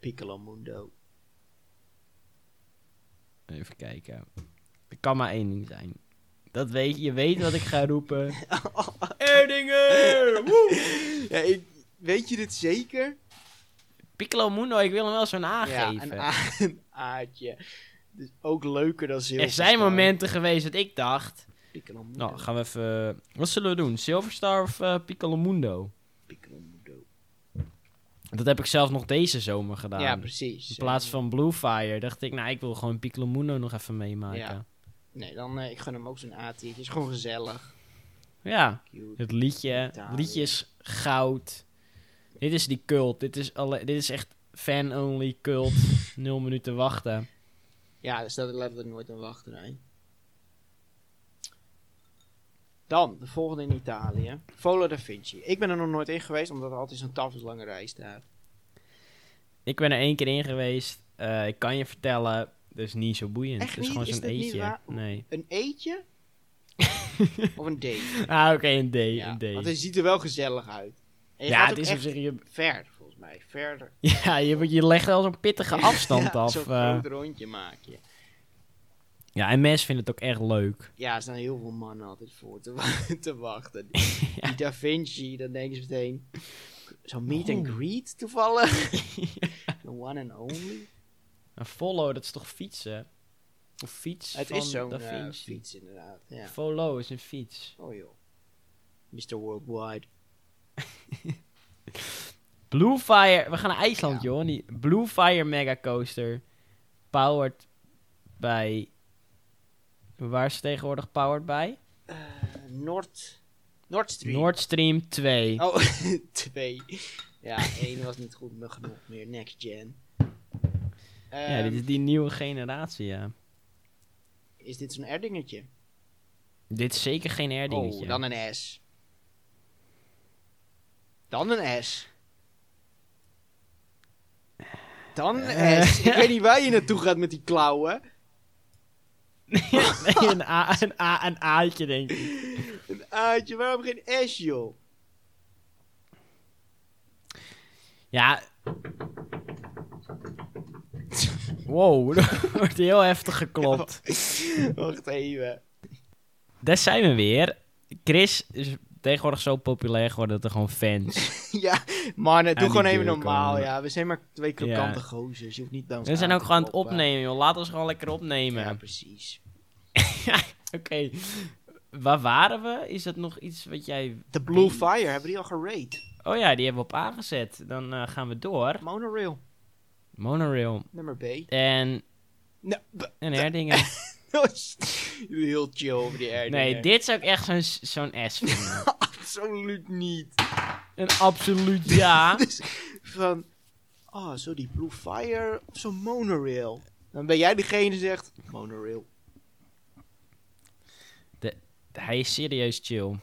[SPEAKER 2] Piccolo Mundo.
[SPEAKER 1] Even kijken. Er kan maar één ding zijn. Dat weet je. Je weet wat ik ga
[SPEAKER 2] (laughs)
[SPEAKER 1] roepen. Erdinger! Woe!
[SPEAKER 2] Ja, ik, weet je dit zeker?
[SPEAKER 1] Piccolo Mundo, ik wil hem wel zo'n A
[SPEAKER 2] Ja,
[SPEAKER 1] geven.
[SPEAKER 2] een, a- een aardje. Dus ook leuker dan
[SPEAKER 1] er
[SPEAKER 2] Silverstone.
[SPEAKER 1] zijn momenten geweest dat ik dacht...
[SPEAKER 2] Piccolo Mundo.
[SPEAKER 1] Nou, gaan we even... Wat zullen we doen? Silverstar of eh, Piccolo Mundo?
[SPEAKER 2] Piccolo Mundo.
[SPEAKER 1] Dat heb ik zelf nog deze zomer gedaan.
[SPEAKER 2] Ja, precies.
[SPEAKER 1] In plaats van Blue Fire dacht ik, nou, ik wil gewoon Piccolo Mundo nog even meemaken.
[SPEAKER 2] Ja.
[SPEAKER 1] Ja.
[SPEAKER 2] Nee, dan eh, ik gun hem ook zo'n aardje. Het is gewoon gezellig. Cute.
[SPEAKER 1] Het liedje.
[SPEAKER 2] Italië.
[SPEAKER 1] liedje is goud. Dit is die cult. Dit is, alle, dit is echt fan-only
[SPEAKER 2] (laughs)
[SPEAKER 1] cult. Nul minuten wachten.
[SPEAKER 2] Ja, dus daar staat er letterlijk nooit een wachtrij. Dan, de volgende in Italië. Volo da Vinci. Ik ben er nog nooit in geweest, omdat er altijd zo'n tafels lange rij staat.
[SPEAKER 1] Ik ben er één keer in geweest. Eh, ik kan je vertellen, dat is niet zo boeiend.
[SPEAKER 2] Echt
[SPEAKER 1] het is
[SPEAKER 2] niet?
[SPEAKER 1] gewoon
[SPEAKER 2] Is
[SPEAKER 1] zo'n
[SPEAKER 2] dit niet
[SPEAKER 1] eetje.
[SPEAKER 2] waar?
[SPEAKER 1] Nee.
[SPEAKER 2] Een eetje? of een date?
[SPEAKER 1] Ah, oké, (laughs) een D.
[SPEAKER 2] Ja,
[SPEAKER 1] een D.
[SPEAKER 2] Want hij ziet er wel gezellig uit. En je
[SPEAKER 1] ja,
[SPEAKER 2] gaat
[SPEAKER 1] het
[SPEAKER 2] ook
[SPEAKER 1] is op
[SPEAKER 2] echt
[SPEAKER 1] zich. Je,
[SPEAKER 2] ver, volgens mij. Verder.
[SPEAKER 1] ja, je, je legt wel zo'n pittige afstand
[SPEAKER 2] (laughs) ja,
[SPEAKER 1] af.
[SPEAKER 2] Zo'n
[SPEAKER 1] eh.
[SPEAKER 2] groot rondje maak je.
[SPEAKER 1] ja, en mensen vinden het ook echt leuk.
[SPEAKER 2] Ja, er staan heel veel mannen altijd voor te, wa- (laughs) te
[SPEAKER 1] (laughs)
[SPEAKER 2] wachten. Die- Die Da Vinci, dan denken ze meteen... Zo'n meet and
[SPEAKER 1] Oh.
[SPEAKER 2] greet
[SPEAKER 1] (laughs)
[SPEAKER 2] toevallig. The one and only.
[SPEAKER 1] Een follow, dat is toch fietsen? Of fiets
[SPEAKER 2] Het
[SPEAKER 1] van
[SPEAKER 2] is zo'n
[SPEAKER 1] Da
[SPEAKER 2] eh,
[SPEAKER 1] Vinci.
[SPEAKER 2] fiets inderdaad. Ja.
[SPEAKER 1] Follow is een fiets.
[SPEAKER 2] Oh joh. Mr. Worldwide.
[SPEAKER 1] Blue Fire, we gaan naar IJsland,
[SPEAKER 2] Ja.
[SPEAKER 1] joh. Die Blue Fire Mega Coaster. Powered bij. Waar is het tegenwoordig powered bij?
[SPEAKER 2] Eh, Noord... Nord Stream.
[SPEAKER 1] Nord Stream 2.
[SPEAKER 2] Oh, (laughs) twee. Ja, één was niet goed maar genoeg meer. Next gen.
[SPEAKER 1] ja, dit
[SPEAKER 2] Ehm,
[SPEAKER 1] is die nieuwe generatie, ja.
[SPEAKER 2] Is dit zo'n Erdingetje?
[SPEAKER 1] Dit is zeker geen herdingetje. (laughs)
[SPEAKER 2] Oh, dan een S. Dan een S. Dan een
[SPEAKER 1] Eh.
[SPEAKER 2] S. Ik weet niet waar je naartoe gaat met die klauwen.
[SPEAKER 1] nee, een, A, een, A, een A'tje, denk ik.
[SPEAKER 2] Een A'tje, waarom geen S, joh?
[SPEAKER 1] Ja. Wow, (laughs) er wordt heel heftig geklopt.
[SPEAKER 2] (laughs) Wacht even.
[SPEAKER 1] Daar zijn we weer. Chris is tegenwoordig zo populair geworden dat er gewoon fans...
[SPEAKER 2] ja, mannen, doe
[SPEAKER 1] die
[SPEAKER 2] gewoon even
[SPEAKER 1] deur
[SPEAKER 2] normaal.
[SPEAKER 1] komen.
[SPEAKER 2] Ja, we zijn maar twee krokante gozers. Je hoeft niet bij ons
[SPEAKER 1] We zijn
[SPEAKER 2] aan
[SPEAKER 1] ook
[SPEAKER 2] te
[SPEAKER 1] gewoon aan het
[SPEAKER 2] kloppen.
[SPEAKER 1] opnemen, joh. Laat ons gewoon lekker opnemen.
[SPEAKER 2] Ja, precies.
[SPEAKER 1] (laughs) Oké. Waar waren we? Is dat nog iets wat jij...
[SPEAKER 2] De Blue Fire, hebben die al gerate?
[SPEAKER 1] Oh ja, die hebben we op aangezet. Dan eh, gaan we door.
[SPEAKER 2] Monorail,
[SPEAKER 1] Monorail.
[SPEAKER 2] nummer B.
[SPEAKER 1] En...
[SPEAKER 2] Nou, b-
[SPEAKER 1] En Herdingen.
[SPEAKER 2] (laughs) dat is heel chill over die air.
[SPEAKER 1] Nee, dit zou ik echt zo'n zo'n S
[SPEAKER 2] (laughs)
[SPEAKER 1] vinden.
[SPEAKER 2] Absoluut niet.
[SPEAKER 1] Een absoluut ja.
[SPEAKER 2] Dus van, oh, zo die Blue Fire of zo'n monorail. Dan ben jij degene die zegt, monorail.
[SPEAKER 1] (laughs) Hij is serieus chill.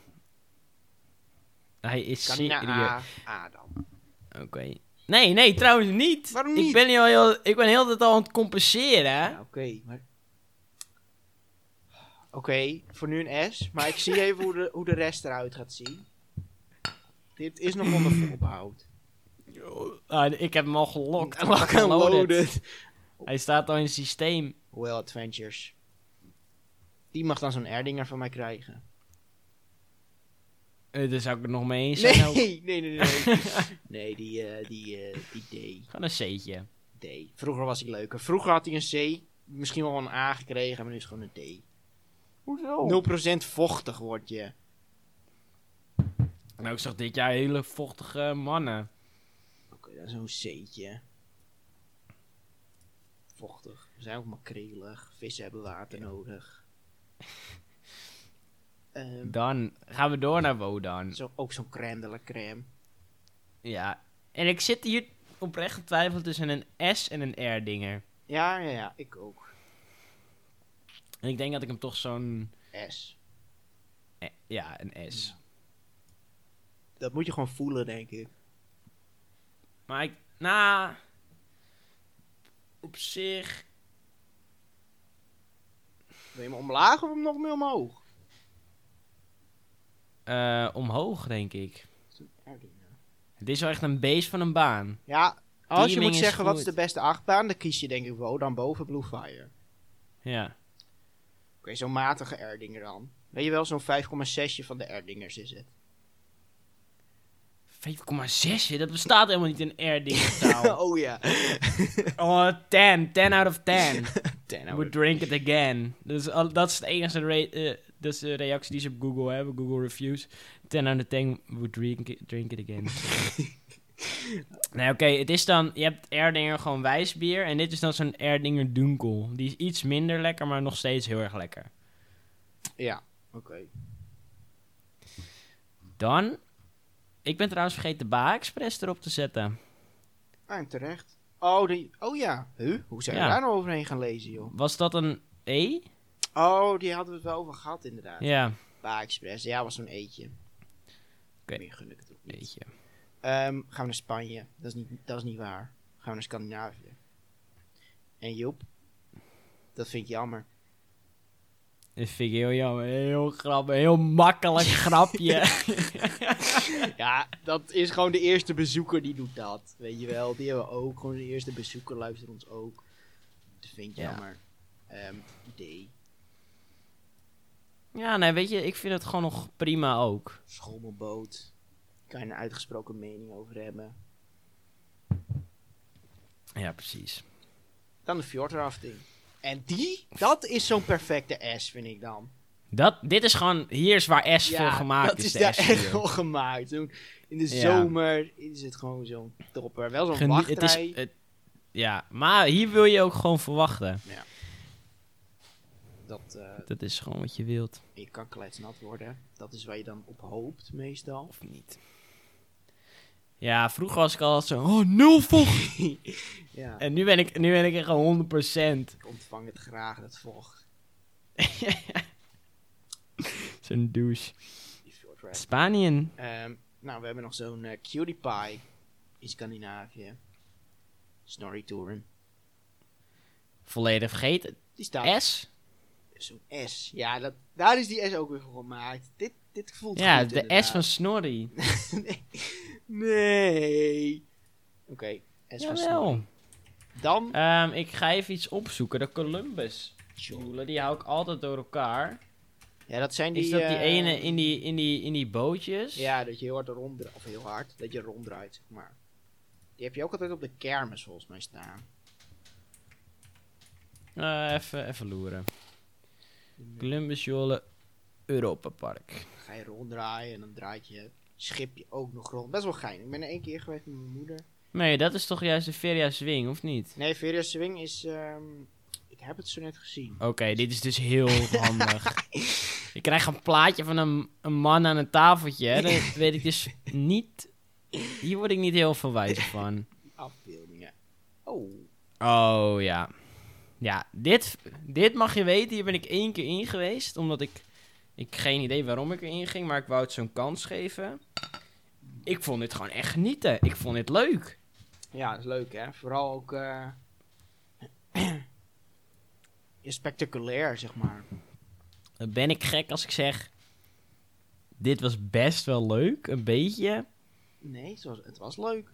[SPEAKER 1] Hij is
[SPEAKER 2] Kan niet naar
[SPEAKER 1] serieus...
[SPEAKER 2] A, A dan.
[SPEAKER 1] Oké. Nee, nee, trouwens niet.
[SPEAKER 2] Waarom
[SPEAKER 1] Ik
[SPEAKER 2] niet?
[SPEAKER 1] ben heel, heel, ik ben heel de tijd al aan het compenseren, hè?
[SPEAKER 2] Ja, Oké, maar... Oké, voor nu een S, maar ik zie even hoe de, hoe de rest eruit gaat zien. Dit is nog onder voorbehoud.
[SPEAKER 1] Ah, ik heb hem al gelokt.
[SPEAKER 2] Lock and loaded.
[SPEAKER 1] Hij staat al in het systeem.
[SPEAKER 2] Well Adventures. Die mag dan zo'n Erdinger van mij krijgen.
[SPEAKER 1] Eh, daar zou ik het nog mee eens zijn.
[SPEAKER 2] Nee, (laughs)
[SPEAKER 1] ook.
[SPEAKER 2] nee, nee, nee. Nee,
[SPEAKER 1] (laughs)
[SPEAKER 2] Nee, die, eh, die, eh, die D.
[SPEAKER 1] Gewoon een C'tje.
[SPEAKER 2] D. Vroeger was hij leuker. Vroeger had hij een C, misschien wel een A gekregen, maar nu is het gewoon een D.
[SPEAKER 1] Hoezo?
[SPEAKER 2] 0% vochtig word je.
[SPEAKER 1] Nou, ik zag dit jaar hele vochtige mannen.
[SPEAKER 2] Oké, dat is zo'n C'tje. Vochtig. We zijn ook makrelig. Vissen hebben water
[SPEAKER 1] (laughs)
[SPEAKER 2] nodig. Ehm,
[SPEAKER 1] Dan gaan we door naar Wodan.
[SPEAKER 2] zo, ook zo'n crème de la crème.
[SPEAKER 1] Ja. En ik zit hier oprecht getwijfeld tussen een S en een R-dinger.
[SPEAKER 2] Ja, ja, ja, ik ook.
[SPEAKER 1] En ik denk dat ik hem toch zo'n...
[SPEAKER 2] S.
[SPEAKER 1] eh, Ja, een S.
[SPEAKER 2] Dat moet je gewoon voelen, denk ik.
[SPEAKER 1] Maar ik, nou, op zich,
[SPEAKER 2] Wil je hem omlaag of hem nog meer omhoog?
[SPEAKER 1] eh, omhoog denk ik.
[SPEAKER 2] Dat is een aarddinger.
[SPEAKER 1] Het is wel echt een beest van een baan.
[SPEAKER 2] Ja, als je
[SPEAKER 1] Teaming
[SPEAKER 2] moet
[SPEAKER 1] is
[SPEAKER 2] zeggen wat is de
[SPEAKER 1] goed.
[SPEAKER 2] beste achtbaan, dan kies je denk ik Wodan boven Blue Fire. Oké,
[SPEAKER 1] Ja.
[SPEAKER 2] zo'n matige Erdinger dan. Weet je wel, zo'n 5,6 van de Erdingers is het.
[SPEAKER 1] 5,6, dat bestaat helemaal niet in air
[SPEAKER 2] (laughs)
[SPEAKER 1] digitaal.
[SPEAKER 2] (laughs) oh ja.
[SPEAKER 1] oh, 10, 10 out of 10.
[SPEAKER 2] Ten
[SPEAKER 1] We drink it again. Dat is, al- dat is de enige re- eh, dat is de reactie die ze op Google hebben, Google Reviews. 10 out of 10, we drink it, drink it again. nee, oké, het is dan, je hebt Erdinger gewoon wijsbier en dit is dan zo'n Erdinger Dunkel. Die is iets minder lekker, maar nog steeds heel erg lekker.
[SPEAKER 2] Ja, oké.
[SPEAKER 1] Dan, ik ben trouwens vergeten de Baha Express erop te zetten.
[SPEAKER 2] Ah, en terecht. Oh, die... oh ja. Huh? Hoe zijn
[SPEAKER 1] Ja.
[SPEAKER 2] we daar nou overheen gaan lezen, joh?
[SPEAKER 1] Was dat een E?
[SPEAKER 2] Oh, die hadden we het wel over gehad, inderdaad. Ja.
[SPEAKER 1] Ja,
[SPEAKER 2] Express. Ja, was zo'n eetje.
[SPEAKER 1] Oké.
[SPEAKER 2] Meer gun ik het ook niet.
[SPEAKER 1] weet je.
[SPEAKER 2] Ehm, gaan we naar Spanje. Dat is, niet, dat is niet waar. Gaan we naar Scandinavië. En Joep. Dat vind ik jammer.
[SPEAKER 1] Dat vind ik heel jammer, heel grappig, heel makkelijk grapje.
[SPEAKER 2] Ja, dat is gewoon de eerste bezoeker die doet dat. Weet je wel, die hebben we ook. Gewoon de eerste bezoeker luistert ons ook. Dat vind ik
[SPEAKER 1] Ja.
[SPEAKER 2] jammer. Ehm D.
[SPEAKER 1] Ja, nee, weet je, ik vind het gewoon nog prima ook.
[SPEAKER 2] Schommelboot. Kan je een uitgesproken mening over hebben.
[SPEAKER 1] Ja, precies.
[SPEAKER 2] Dan de fjordrafting. En die, dat is zo'n perfecte S, vind ik dan.
[SPEAKER 1] Dat, dit is gewoon, hier is waar S voor gemaakt
[SPEAKER 2] dat is,
[SPEAKER 1] is. de
[SPEAKER 2] daar
[SPEAKER 1] S
[SPEAKER 2] echt
[SPEAKER 1] hier.
[SPEAKER 2] wel gemaakt. Zo'n- In de
[SPEAKER 1] Ja.
[SPEAKER 2] zomer is het gewoon zo'n topper. Wel zo'n
[SPEAKER 1] Genie- het
[SPEAKER 2] wachtrij.
[SPEAKER 1] is, het- Ja, maar hier wil je ook gewoon verwachten.
[SPEAKER 2] dat, eh,
[SPEAKER 1] Dat is gewoon wat je wilt.
[SPEAKER 2] je kan kletsnat worden. Dat is waar je dan op hoopt, meestal.
[SPEAKER 1] Of niet. Ja, vroeger was ik altijd zo, oh, nul vocht. (laughs)
[SPEAKER 2] Ja,
[SPEAKER 1] En nu ben ik, nu ben ik echt gewoon 100%.
[SPEAKER 2] ik ontvang het graag, dat vocht.
[SPEAKER 1] Zo'n douche.
[SPEAKER 2] Die fjordrafting.
[SPEAKER 1] Spanje.
[SPEAKER 2] Ehm, nou, we hebben nog zo'n eh, cutie pie in Scandinavië. Snorri-toeren.
[SPEAKER 1] Volledig vergeten.
[SPEAKER 2] Die staat
[SPEAKER 1] S?
[SPEAKER 2] zo'n S. Ja, dat, daar is die S ook weer voor gemaakt. Dit, dit voelt
[SPEAKER 1] Ja,
[SPEAKER 2] goed,
[SPEAKER 1] de S van
[SPEAKER 2] (laughs) inderdaad.
[SPEAKER 1] Snorri.
[SPEAKER 2] nee. Oké, S van Snorri.
[SPEAKER 1] Jawel.
[SPEAKER 2] Dan.
[SPEAKER 1] Ehm, ik ga even iets opzoeken. De Columbus
[SPEAKER 2] Tjoh.
[SPEAKER 1] joelen, die hou ik altijd door elkaar.
[SPEAKER 2] Ja, dat zijn die.
[SPEAKER 1] Is dat die
[SPEAKER 2] eh,
[SPEAKER 1] ene in die, in die, in die bootjes?
[SPEAKER 2] Ja, dat je heel hard ronddraait. Of heel hard. Dat je ronddraait. Maar. Die heb je ook altijd op de kermis volgens mij staan.
[SPEAKER 1] Eh, even, even loeren. Columbus joelen, Europa Park.
[SPEAKER 2] Dan ga je ronddraaien en dan draait je schipje ook nog rond. Best wel geinig. Ik ben er één keer geweest met mijn moeder.
[SPEAKER 1] Nee, dat is toch juist de Feria Swing, of niet?
[SPEAKER 2] Nee, Veria Swing is. ehm, ik heb het zo net gezien.
[SPEAKER 1] Oké, dit is dus
[SPEAKER 2] (laughs)
[SPEAKER 1] heel handig. Ik krijg een plaatje van een, een man aan een tafeltje. hè. Dan weet ik dus niet... Hier word ik niet heel veel wijzer van.
[SPEAKER 2] Afbeeldingen. Oh.
[SPEAKER 1] Oh ja. Ja, dit, dit mag je weten. Hier ben ik één keer in geweest. Omdat ik. Ik geen idee waarom ik erin ging. Maar ik wou het zo'n kans geven. Ik vond dit gewoon echt genieten. Ik vond dit leuk.
[SPEAKER 2] Ja, dat is leuk hè. Vooral ook. eh, (clears throat) ja, spectaculair, zeg maar.
[SPEAKER 1] Dan ben ik gek als ik zeg. Dit was best wel leuk. Een beetje.
[SPEAKER 2] Nee, het was, het was leuk.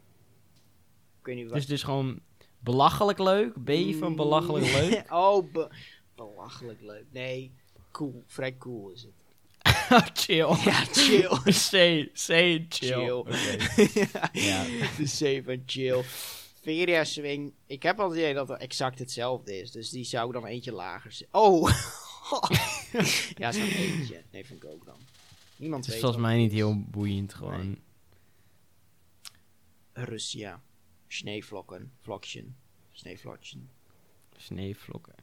[SPEAKER 2] Ik weet niet wat.
[SPEAKER 1] Dus, dus gewoon belachelijk leuk. B van belachelijk leuk.
[SPEAKER 2] oh, be- belachelijk leuk. Nee, cool. Vrij cool is het.
[SPEAKER 1] chill.
[SPEAKER 2] (laughs) Ja, chill.
[SPEAKER 1] C, C, chill. (laughs)
[SPEAKER 2] Chill.
[SPEAKER 1] Oké. Ja.
[SPEAKER 2] (laughs) De C van chill. Feria swing. Ik heb al het idee dat het exact hetzelfde is. Dus die zou ik dan eentje lager zetten. Oh! (laughs) ja, zo'n eentje. Nee, vind ik ook dan. Niemand
[SPEAKER 1] Het is
[SPEAKER 2] weet.
[SPEAKER 1] volgens
[SPEAKER 2] wat
[SPEAKER 1] mij
[SPEAKER 2] het
[SPEAKER 1] niet
[SPEAKER 2] is.
[SPEAKER 1] heel boeiend gewoon.
[SPEAKER 2] Nee. Russia. Sneeuwvlokken. Vlokjen. Sneeuwvlokjen.
[SPEAKER 1] Sneeuwvlokken.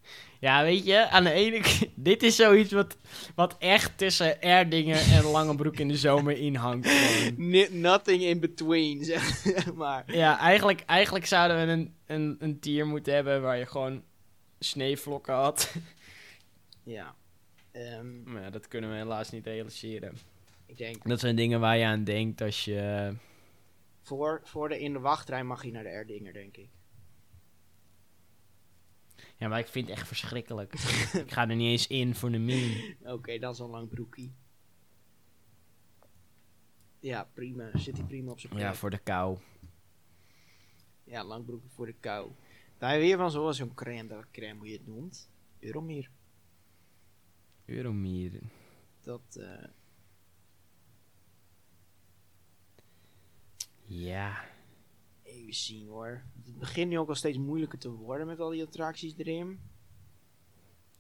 [SPEAKER 1] Ja, weet je, aan de ene kant... (laughs) Dit is zoiets wat, wat echt tussen Erdingen en Langebroek in de zomer inhangt. gewoon.
[SPEAKER 2] Ni- nothing in between, (laughs) zeg maar.
[SPEAKER 1] Ja, eigenlijk, eigenlijk zouden we een, een, een tier moeten hebben waar je gewoon sneeuwvlokken had. (laughs)
[SPEAKER 2] Ja. Ehm,
[SPEAKER 1] Maar ja, dat kunnen we helaas niet realiseren.
[SPEAKER 2] ik denk,
[SPEAKER 1] Dat zijn dingen waar je aan denkt als je...
[SPEAKER 2] voor, voor de in de wachtrij mag je naar de Erdinger, denk ik.
[SPEAKER 1] Ja, maar ik vind het echt verschrikkelijk. ik ga er niet eens in voor de meme.
[SPEAKER 2] Oké, dan zo'n lang broekie. Ja, prima. Zit hij prima op zijn plek.
[SPEAKER 1] Ja,
[SPEAKER 2] Ja,
[SPEAKER 1] voor de kou.
[SPEAKER 2] lang broekie voor de kou. Daar heb je weer van zo'n zo'n crème, dat crème hoe je het noemt. Euromier.
[SPEAKER 1] Euromier.
[SPEAKER 2] Dat, eh,
[SPEAKER 1] Ja.
[SPEAKER 2] even zien hoor. Het begint nu ook al steeds moeilijker te worden met al die attracties erin.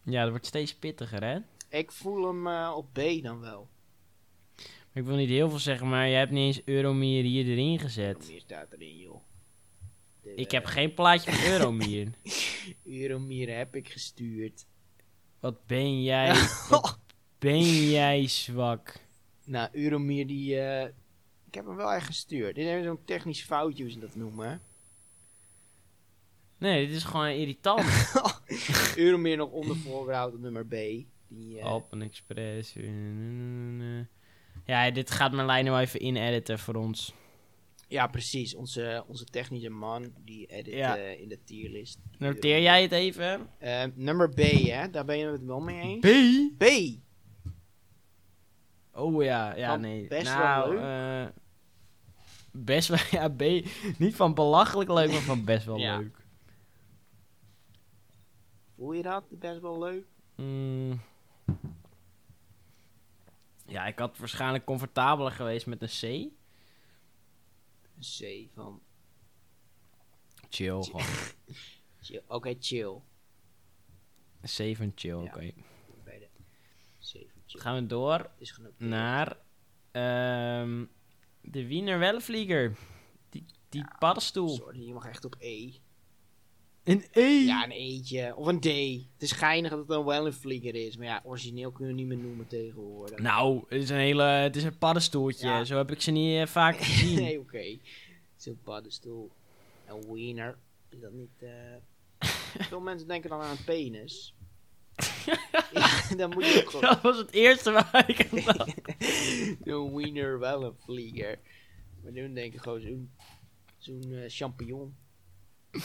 [SPEAKER 1] Ja, dat wordt steeds pittiger, hè?
[SPEAKER 2] Ik voel hem eh, op B dan wel.
[SPEAKER 1] Ik wil niet heel veel zeggen, maar je hebt niet eens Euromier hier erin gezet.
[SPEAKER 2] Euromier staat erin, joh. De,
[SPEAKER 1] Ik heb geen plaatje van
[SPEAKER 2] (laughs)
[SPEAKER 1] Euromier.
[SPEAKER 2] Euromier heb ik gestuurd.
[SPEAKER 1] Wat ben jij, ben jij zwak.
[SPEAKER 2] Nou, Uromir die... eh, ik heb hem wel echt gestuurd. Dit is zo'n technisch foutje, hoe ze dat noemen. hè.
[SPEAKER 1] Nee, dit is gewoon
[SPEAKER 2] (laughs)
[SPEAKER 1] irritant.
[SPEAKER 2] Uromir nog
[SPEAKER 1] (clears throat)
[SPEAKER 2] onder voorbehoud op nummer B. Die, eh,
[SPEAKER 1] Alpen Express. Ja, dit gaat Marlijn nou even inediten voor ons.
[SPEAKER 2] Ja, precies. Onze, onze technische man, die edit
[SPEAKER 1] Ja.
[SPEAKER 2] eh, in de tierlist.
[SPEAKER 1] Noteer jij het even?
[SPEAKER 2] Eh, nummer B, hè? Daar ben je het wel mee eens?
[SPEAKER 1] B?
[SPEAKER 2] B!
[SPEAKER 1] Oh ja, ja,
[SPEAKER 2] Van
[SPEAKER 1] nee.
[SPEAKER 2] best wel
[SPEAKER 1] nou,
[SPEAKER 2] leuk.
[SPEAKER 1] eh, best wel, (laughs) ja, B. Niet van belachelijk leuk, maar van best wel
[SPEAKER 2] Ja.
[SPEAKER 1] leuk.
[SPEAKER 2] Voel je dat? Best wel leuk.
[SPEAKER 1] Mm. Ja, ik had waarschijnlijk comfortabeler geweest met een C.
[SPEAKER 2] Een C van...
[SPEAKER 1] Chill, (laughs) gewoon.
[SPEAKER 2] chill. Oké, chill.
[SPEAKER 1] Een C van chill, oké.
[SPEAKER 2] Bij de C van chill.
[SPEAKER 1] Gaan we door
[SPEAKER 2] Is genoteerd.
[SPEAKER 1] naar ehm, de Wiener Wellvlieger. Die, die paddenstoel.
[SPEAKER 2] Sorry, je mag echt op E.
[SPEAKER 1] Een E!
[SPEAKER 2] Ja, een eentje. Of een D. Het is geinig dat het dan wel een vlieger is. Maar ja, origineel kunnen we niet meer noemen tegenwoordig.
[SPEAKER 1] Nou, het is een hele, het is een paddenstoeltje.
[SPEAKER 2] Ja.
[SPEAKER 1] Zo heb ik ze niet eh, vaak gezien. (laughs) (clears throat)
[SPEAKER 2] nee, oké. Zo'n paddenstoel. Een wiener. Is dat niet... eh, Veel mensen denken dan aan een
[SPEAKER 1] (laughs)
[SPEAKER 2] penis. ja, dan moet je ook gewoon...
[SPEAKER 1] Dat was het eerste waar ik aan dacht.
[SPEAKER 2] (laughs) Een wiener wel een vlieger. Maar nu denken gewoon zo'n... Zo'n eh, champignon.
[SPEAKER 1] (laughs)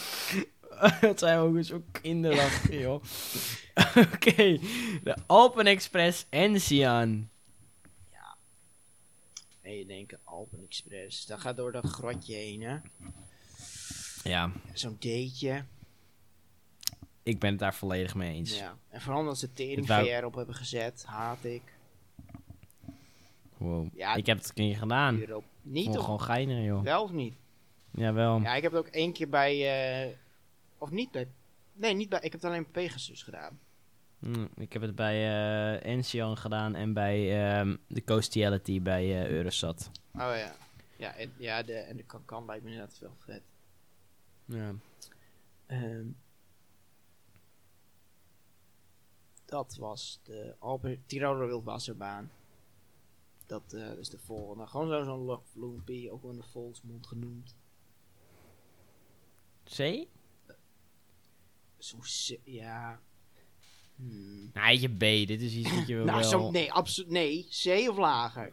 [SPEAKER 1] Dat zijn ook zo kinderachtig, joh. (laughs) Oké, de Alpen Express Enzian.
[SPEAKER 2] En je denkt Alpen Express. Dat gaat door dat grotje heen, hè.
[SPEAKER 1] Ja,
[SPEAKER 2] Zo'n deetje.
[SPEAKER 1] Ik ben het daar volledig mee eens.
[SPEAKER 2] Ja. En vooral omdat ze tering
[SPEAKER 1] Ik wou-
[SPEAKER 2] VR op hebben gezet, haat ik.
[SPEAKER 1] Wow.
[SPEAKER 2] Ja,
[SPEAKER 1] ik heb het een keer gedaan. Ik
[SPEAKER 2] Hierop. Niet
[SPEAKER 1] vond het
[SPEAKER 2] of
[SPEAKER 1] gewoon geinig, joh.
[SPEAKER 2] wel of niet?
[SPEAKER 1] Jawel.
[SPEAKER 2] Ja, ik heb het ook één keer bij. eh, of niet bij. Nee, niet bij. Ik heb het alleen bij Pegasus gedaan.
[SPEAKER 1] Hm, ik heb het bij eh Encian gedaan en bij ehm, de Coastality bij eh, Eurosat.
[SPEAKER 2] Oh ja. Ja, en, ja de, en de Kankan lijkt me inderdaad wel vet.
[SPEAKER 1] Ja.
[SPEAKER 2] Ehm, dat was de Albert Tiroler Wildwasserbaan. Dat eh, is de volgende. Gewoon zo- zo'n Loch Loempie, ook wel in de volksmond genoemd.
[SPEAKER 1] C?
[SPEAKER 2] Zo'n se- ja. Hmm.
[SPEAKER 1] Nee, Nou, je B. Dit is iets wat
[SPEAKER 2] (laughs)
[SPEAKER 1] je
[SPEAKER 2] Nou,
[SPEAKER 1] wel...
[SPEAKER 2] zo, nee, absoluut. Nee, C of lager.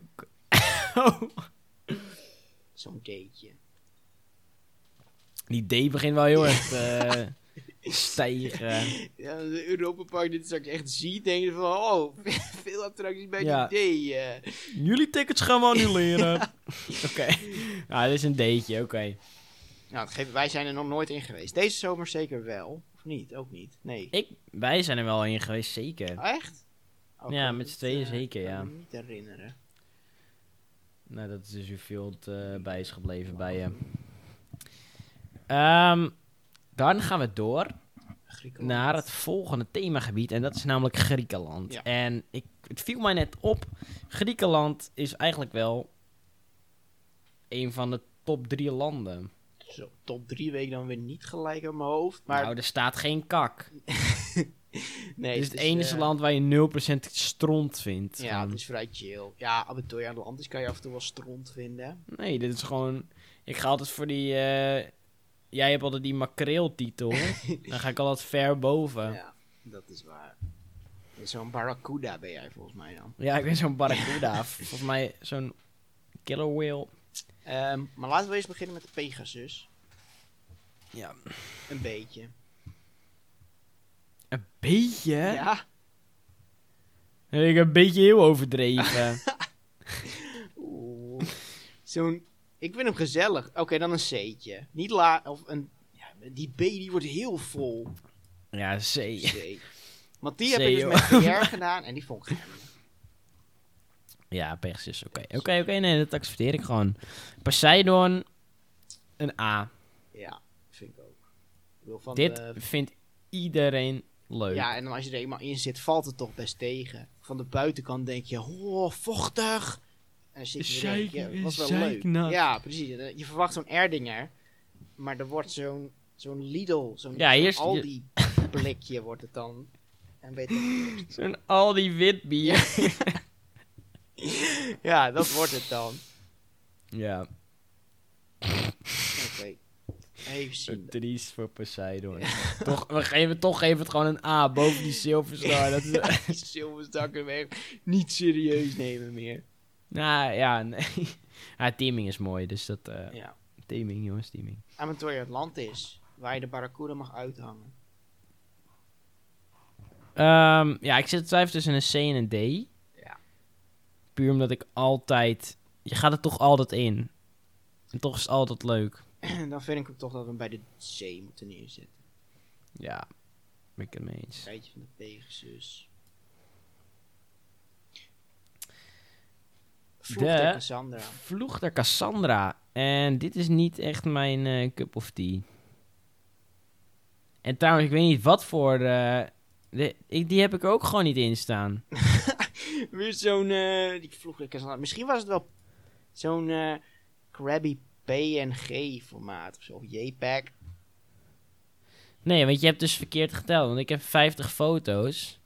[SPEAKER 2] Zo'n deetje.
[SPEAKER 1] (laughs) Die D begint wel heel erg eh
[SPEAKER 2] (laughs)
[SPEAKER 1] stijgen.
[SPEAKER 2] Ja, de Europa Park, dit straks echt ziet, denk je van, oh, (laughs) veel attracties bij
[SPEAKER 1] Ja.
[SPEAKER 2] die D. eh.
[SPEAKER 1] Jullie tickets gaan we annuleren. (laughs) Oké. Nou, dit is een D'tje. Oké.
[SPEAKER 2] Nou, dat geeft- wij zijn er nog nooit in geweest. Deze zomer zeker wel. Of niet, ook niet. Nee.
[SPEAKER 1] Ik, wij zijn er wel in geweest, zeker.
[SPEAKER 2] Oh, echt? Oh,
[SPEAKER 1] Ja,
[SPEAKER 2] kan
[SPEAKER 1] met z'n
[SPEAKER 2] ik
[SPEAKER 1] tweeën
[SPEAKER 2] niet, eh,
[SPEAKER 1] zeker,
[SPEAKER 2] kan
[SPEAKER 1] ja.
[SPEAKER 2] ik me niet herinneren.
[SPEAKER 1] Nou, dat is dus hoeveel het
[SPEAKER 2] Mm.
[SPEAKER 1] eh, bij is gebleven bij je. Ehm, dan gaan we door
[SPEAKER 2] Griekenland.
[SPEAKER 1] naar het volgende themagebied. En dat is namelijk Griekenland.
[SPEAKER 2] Ja.
[SPEAKER 1] En ik, het viel mij net op. Griekenland is eigenlijk wel een van de top drie landen.
[SPEAKER 2] Zo, top drie weken dan weer niet gelijk aan mijn hoofd. Maar
[SPEAKER 1] Nou, er staat geen kak.
[SPEAKER 2] nee,
[SPEAKER 1] Het is het
[SPEAKER 2] is,
[SPEAKER 1] enige
[SPEAKER 2] eh,
[SPEAKER 1] land waar je 0% stront vindt.
[SPEAKER 2] Ja,
[SPEAKER 1] Gewoon.
[SPEAKER 2] het is vrij chill. Ja, abattoir aan de land is kan je af en toe wel stront vinden.
[SPEAKER 1] Nee, dit is gewoon... Ik ga altijd voor die... eh, Jij hebt altijd die
[SPEAKER 2] (laughs)
[SPEAKER 1] makreeltitel. Dan ga ik altijd ver boven.
[SPEAKER 2] Ja, dat is waar. Zo'n barracuda ben jij volgens mij dan.
[SPEAKER 1] Ja, ik ben zo'n barracuda. Volgens mij zo'n killer whale.
[SPEAKER 2] Ehm, maar laten we eens beginnen met de Pegasus.
[SPEAKER 1] Ja.
[SPEAKER 2] Een beetje.
[SPEAKER 1] Een beetje? Ja.
[SPEAKER 2] Ja.
[SPEAKER 1] Ik een beetje heel overdreven.
[SPEAKER 2] (laughs) Oeh. Zo'n. Ik vind hem gezellig. Oké, dan een C'tje. Niet la. Of een. Ja, die B die wordt heel vol.
[SPEAKER 1] ja, C.
[SPEAKER 2] C. Want die heb
[SPEAKER 1] C,
[SPEAKER 2] ik dus
[SPEAKER 1] joh.
[SPEAKER 2] met VR gedaan en die vond ik geinig.
[SPEAKER 1] Ja, Pegasus. Oké, oké, oké. nee, dat accepteer ik gewoon. Poseidon, een A.
[SPEAKER 2] Ja, vind ik ook. Ik bedoel, van
[SPEAKER 1] Dit
[SPEAKER 2] de-
[SPEAKER 1] vindt iedereen leuk.
[SPEAKER 2] ja, en dan als je er eenmaal in zit, valt het toch best tegen. Van de buitenkant denk je, oh, vochtig. En dan zit je er denk
[SPEAKER 1] Zeik-
[SPEAKER 2] je, was wel leuk.
[SPEAKER 1] zeiknat.
[SPEAKER 2] Ja, precies. En, eh, Je verwacht zo'n Erdinger, maar er wordt zo'n zo'n Lidl, zo'n
[SPEAKER 1] Ja,
[SPEAKER 2] zo'n
[SPEAKER 1] hier is-
[SPEAKER 2] Aldi blikje (laughs) wordt het dan. En weet je-
[SPEAKER 1] Zo'n al die wit bier. Ja.
[SPEAKER 2] (laughs) ja, dat wordt het dan. Oké.
[SPEAKER 1] (laughs)
[SPEAKER 2] Even zien.
[SPEAKER 1] Triest voor Poseidon. Toch, we geven, toch geven het gewoon een A boven die zilverstar. Dat
[SPEAKER 2] (laughs)
[SPEAKER 1] is,
[SPEAKER 2] Die zilverstakken weg niet serieus nemen meer.
[SPEAKER 1] nou ja, nee. Ah, teaming is mooi, dus dat... eh,
[SPEAKER 2] Ja.
[SPEAKER 1] Teaming, jongens, teaming.
[SPEAKER 2] Amateur Atlantis, waar je de barracuda mag uithangen. (clears throat)
[SPEAKER 1] Ehm, ja, ik zit te twijfelen tussen een C en een D.
[SPEAKER 2] Ja.
[SPEAKER 1] Puur omdat ik altijd... Je gaat er toch altijd in. En toch is het altijd leuk.
[SPEAKER 2] dan vind ik ook toch dat we hem bij de C moeten neerzetten.
[SPEAKER 1] Ja, ben ik het mee eens.
[SPEAKER 2] Rijtje van de Pegasus. Vloeg
[SPEAKER 1] De-
[SPEAKER 2] de Cassandra.
[SPEAKER 1] Vloeg der Cassandra. En dit is niet echt mijn eh, cup of tea. En trouwens, ik weet niet wat voor... eh, de- ik, die heb ik ook gewoon niet in staan.
[SPEAKER 2] (laughs) Weer zo'n... eh, die Vloeg de Cassandra. Misschien was het wel zo'n eh, Krabby PNG formaat of E zo. Of JPEG.
[SPEAKER 1] Nee, want je hebt dus verkeerd geteld. Want ik heb 50 foto's.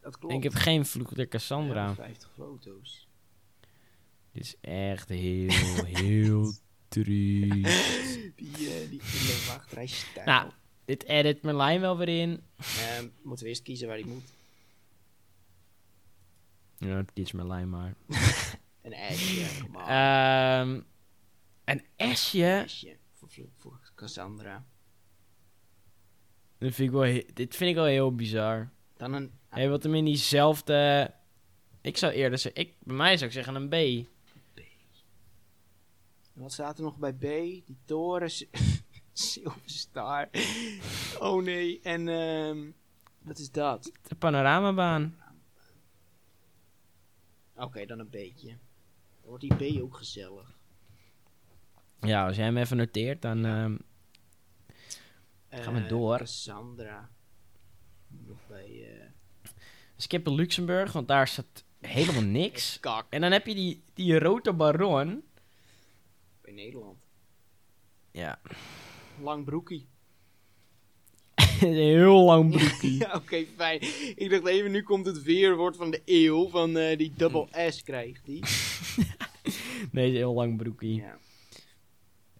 [SPEAKER 2] Dat klopt.
[SPEAKER 1] En ik heb geen Vloeg der
[SPEAKER 2] We
[SPEAKER 1] Cassandra.
[SPEAKER 2] hebben 50 foto's.
[SPEAKER 1] Dit is echt heel, (laughs) heel triest.
[SPEAKER 2] Die, eh, die nee, wacht, hij staat.
[SPEAKER 1] Nou. Dit edit mijn lijn wel weer in.
[SPEAKER 2] Ehm, moeten we eerst kiezen waar die moet.
[SPEAKER 1] Ja, dit is mijn lijn maar.
[SPEAKER 2] Een ijsje. kom op.
[SPEAKER 1] Ehm, een
[SPEAKER 2] Een
[SPEAKER 1] S'je.
[SPEAKER 2] ijsje. Voor, voor, voor Cassandra.
[SPEAKER 1] Dat vind ik wel he- dit vind ik wel heel bizar.
[SPEAKER 2] Dan een...
[SPEAKER 1] Hij wat hem in diezelfde... Ik zou eerder zeggen... Ik, bij mij zou ik zeggen een B.
[SPEAKER 2] Wat staat er nog bij B? Die torens. (laughs) Silverstar. Oh nee, en ehm, wat is dat?
[SPEAKER 1] De panoramabaan.
[SPEAKER 2] Oké, dan een beetje. Dan wordt die B ook gezellig.
[SPEAKER 1] Ja, als jij hem even noteert, dan... ehm, Gaan we
[SPEAKER 2] Eh,
[SPEAKER 1] door.
[SPEAKER 2] Cassandra. Nog bij eh
[SPEAKER 1] skippen Luxemburg, want daar zat helemaal niks.
[SPEAKER 2] eh, Kak
[SPEAKER 1] En dan heb je die, die rode baron.
[SPEAKER 2] bij Nederland.
[SPEAKER 1] Ja,
[SPEAKER 2] Lang broekie.
[SPEAKER 1] (laughs)
[SPEAKER 2] (laughs)
[SPEAKER 1] een heel lang broekie.
[SPEAKER 2] Ja, Oké, fijn. Ik dacht even, nu komt het weerwoord van de eeuw. Van eh, die double S krijgt die.
[SPEAKER 1] (laughs) Nee, een heel lang broekie.
[SPEAKER 2] Ja,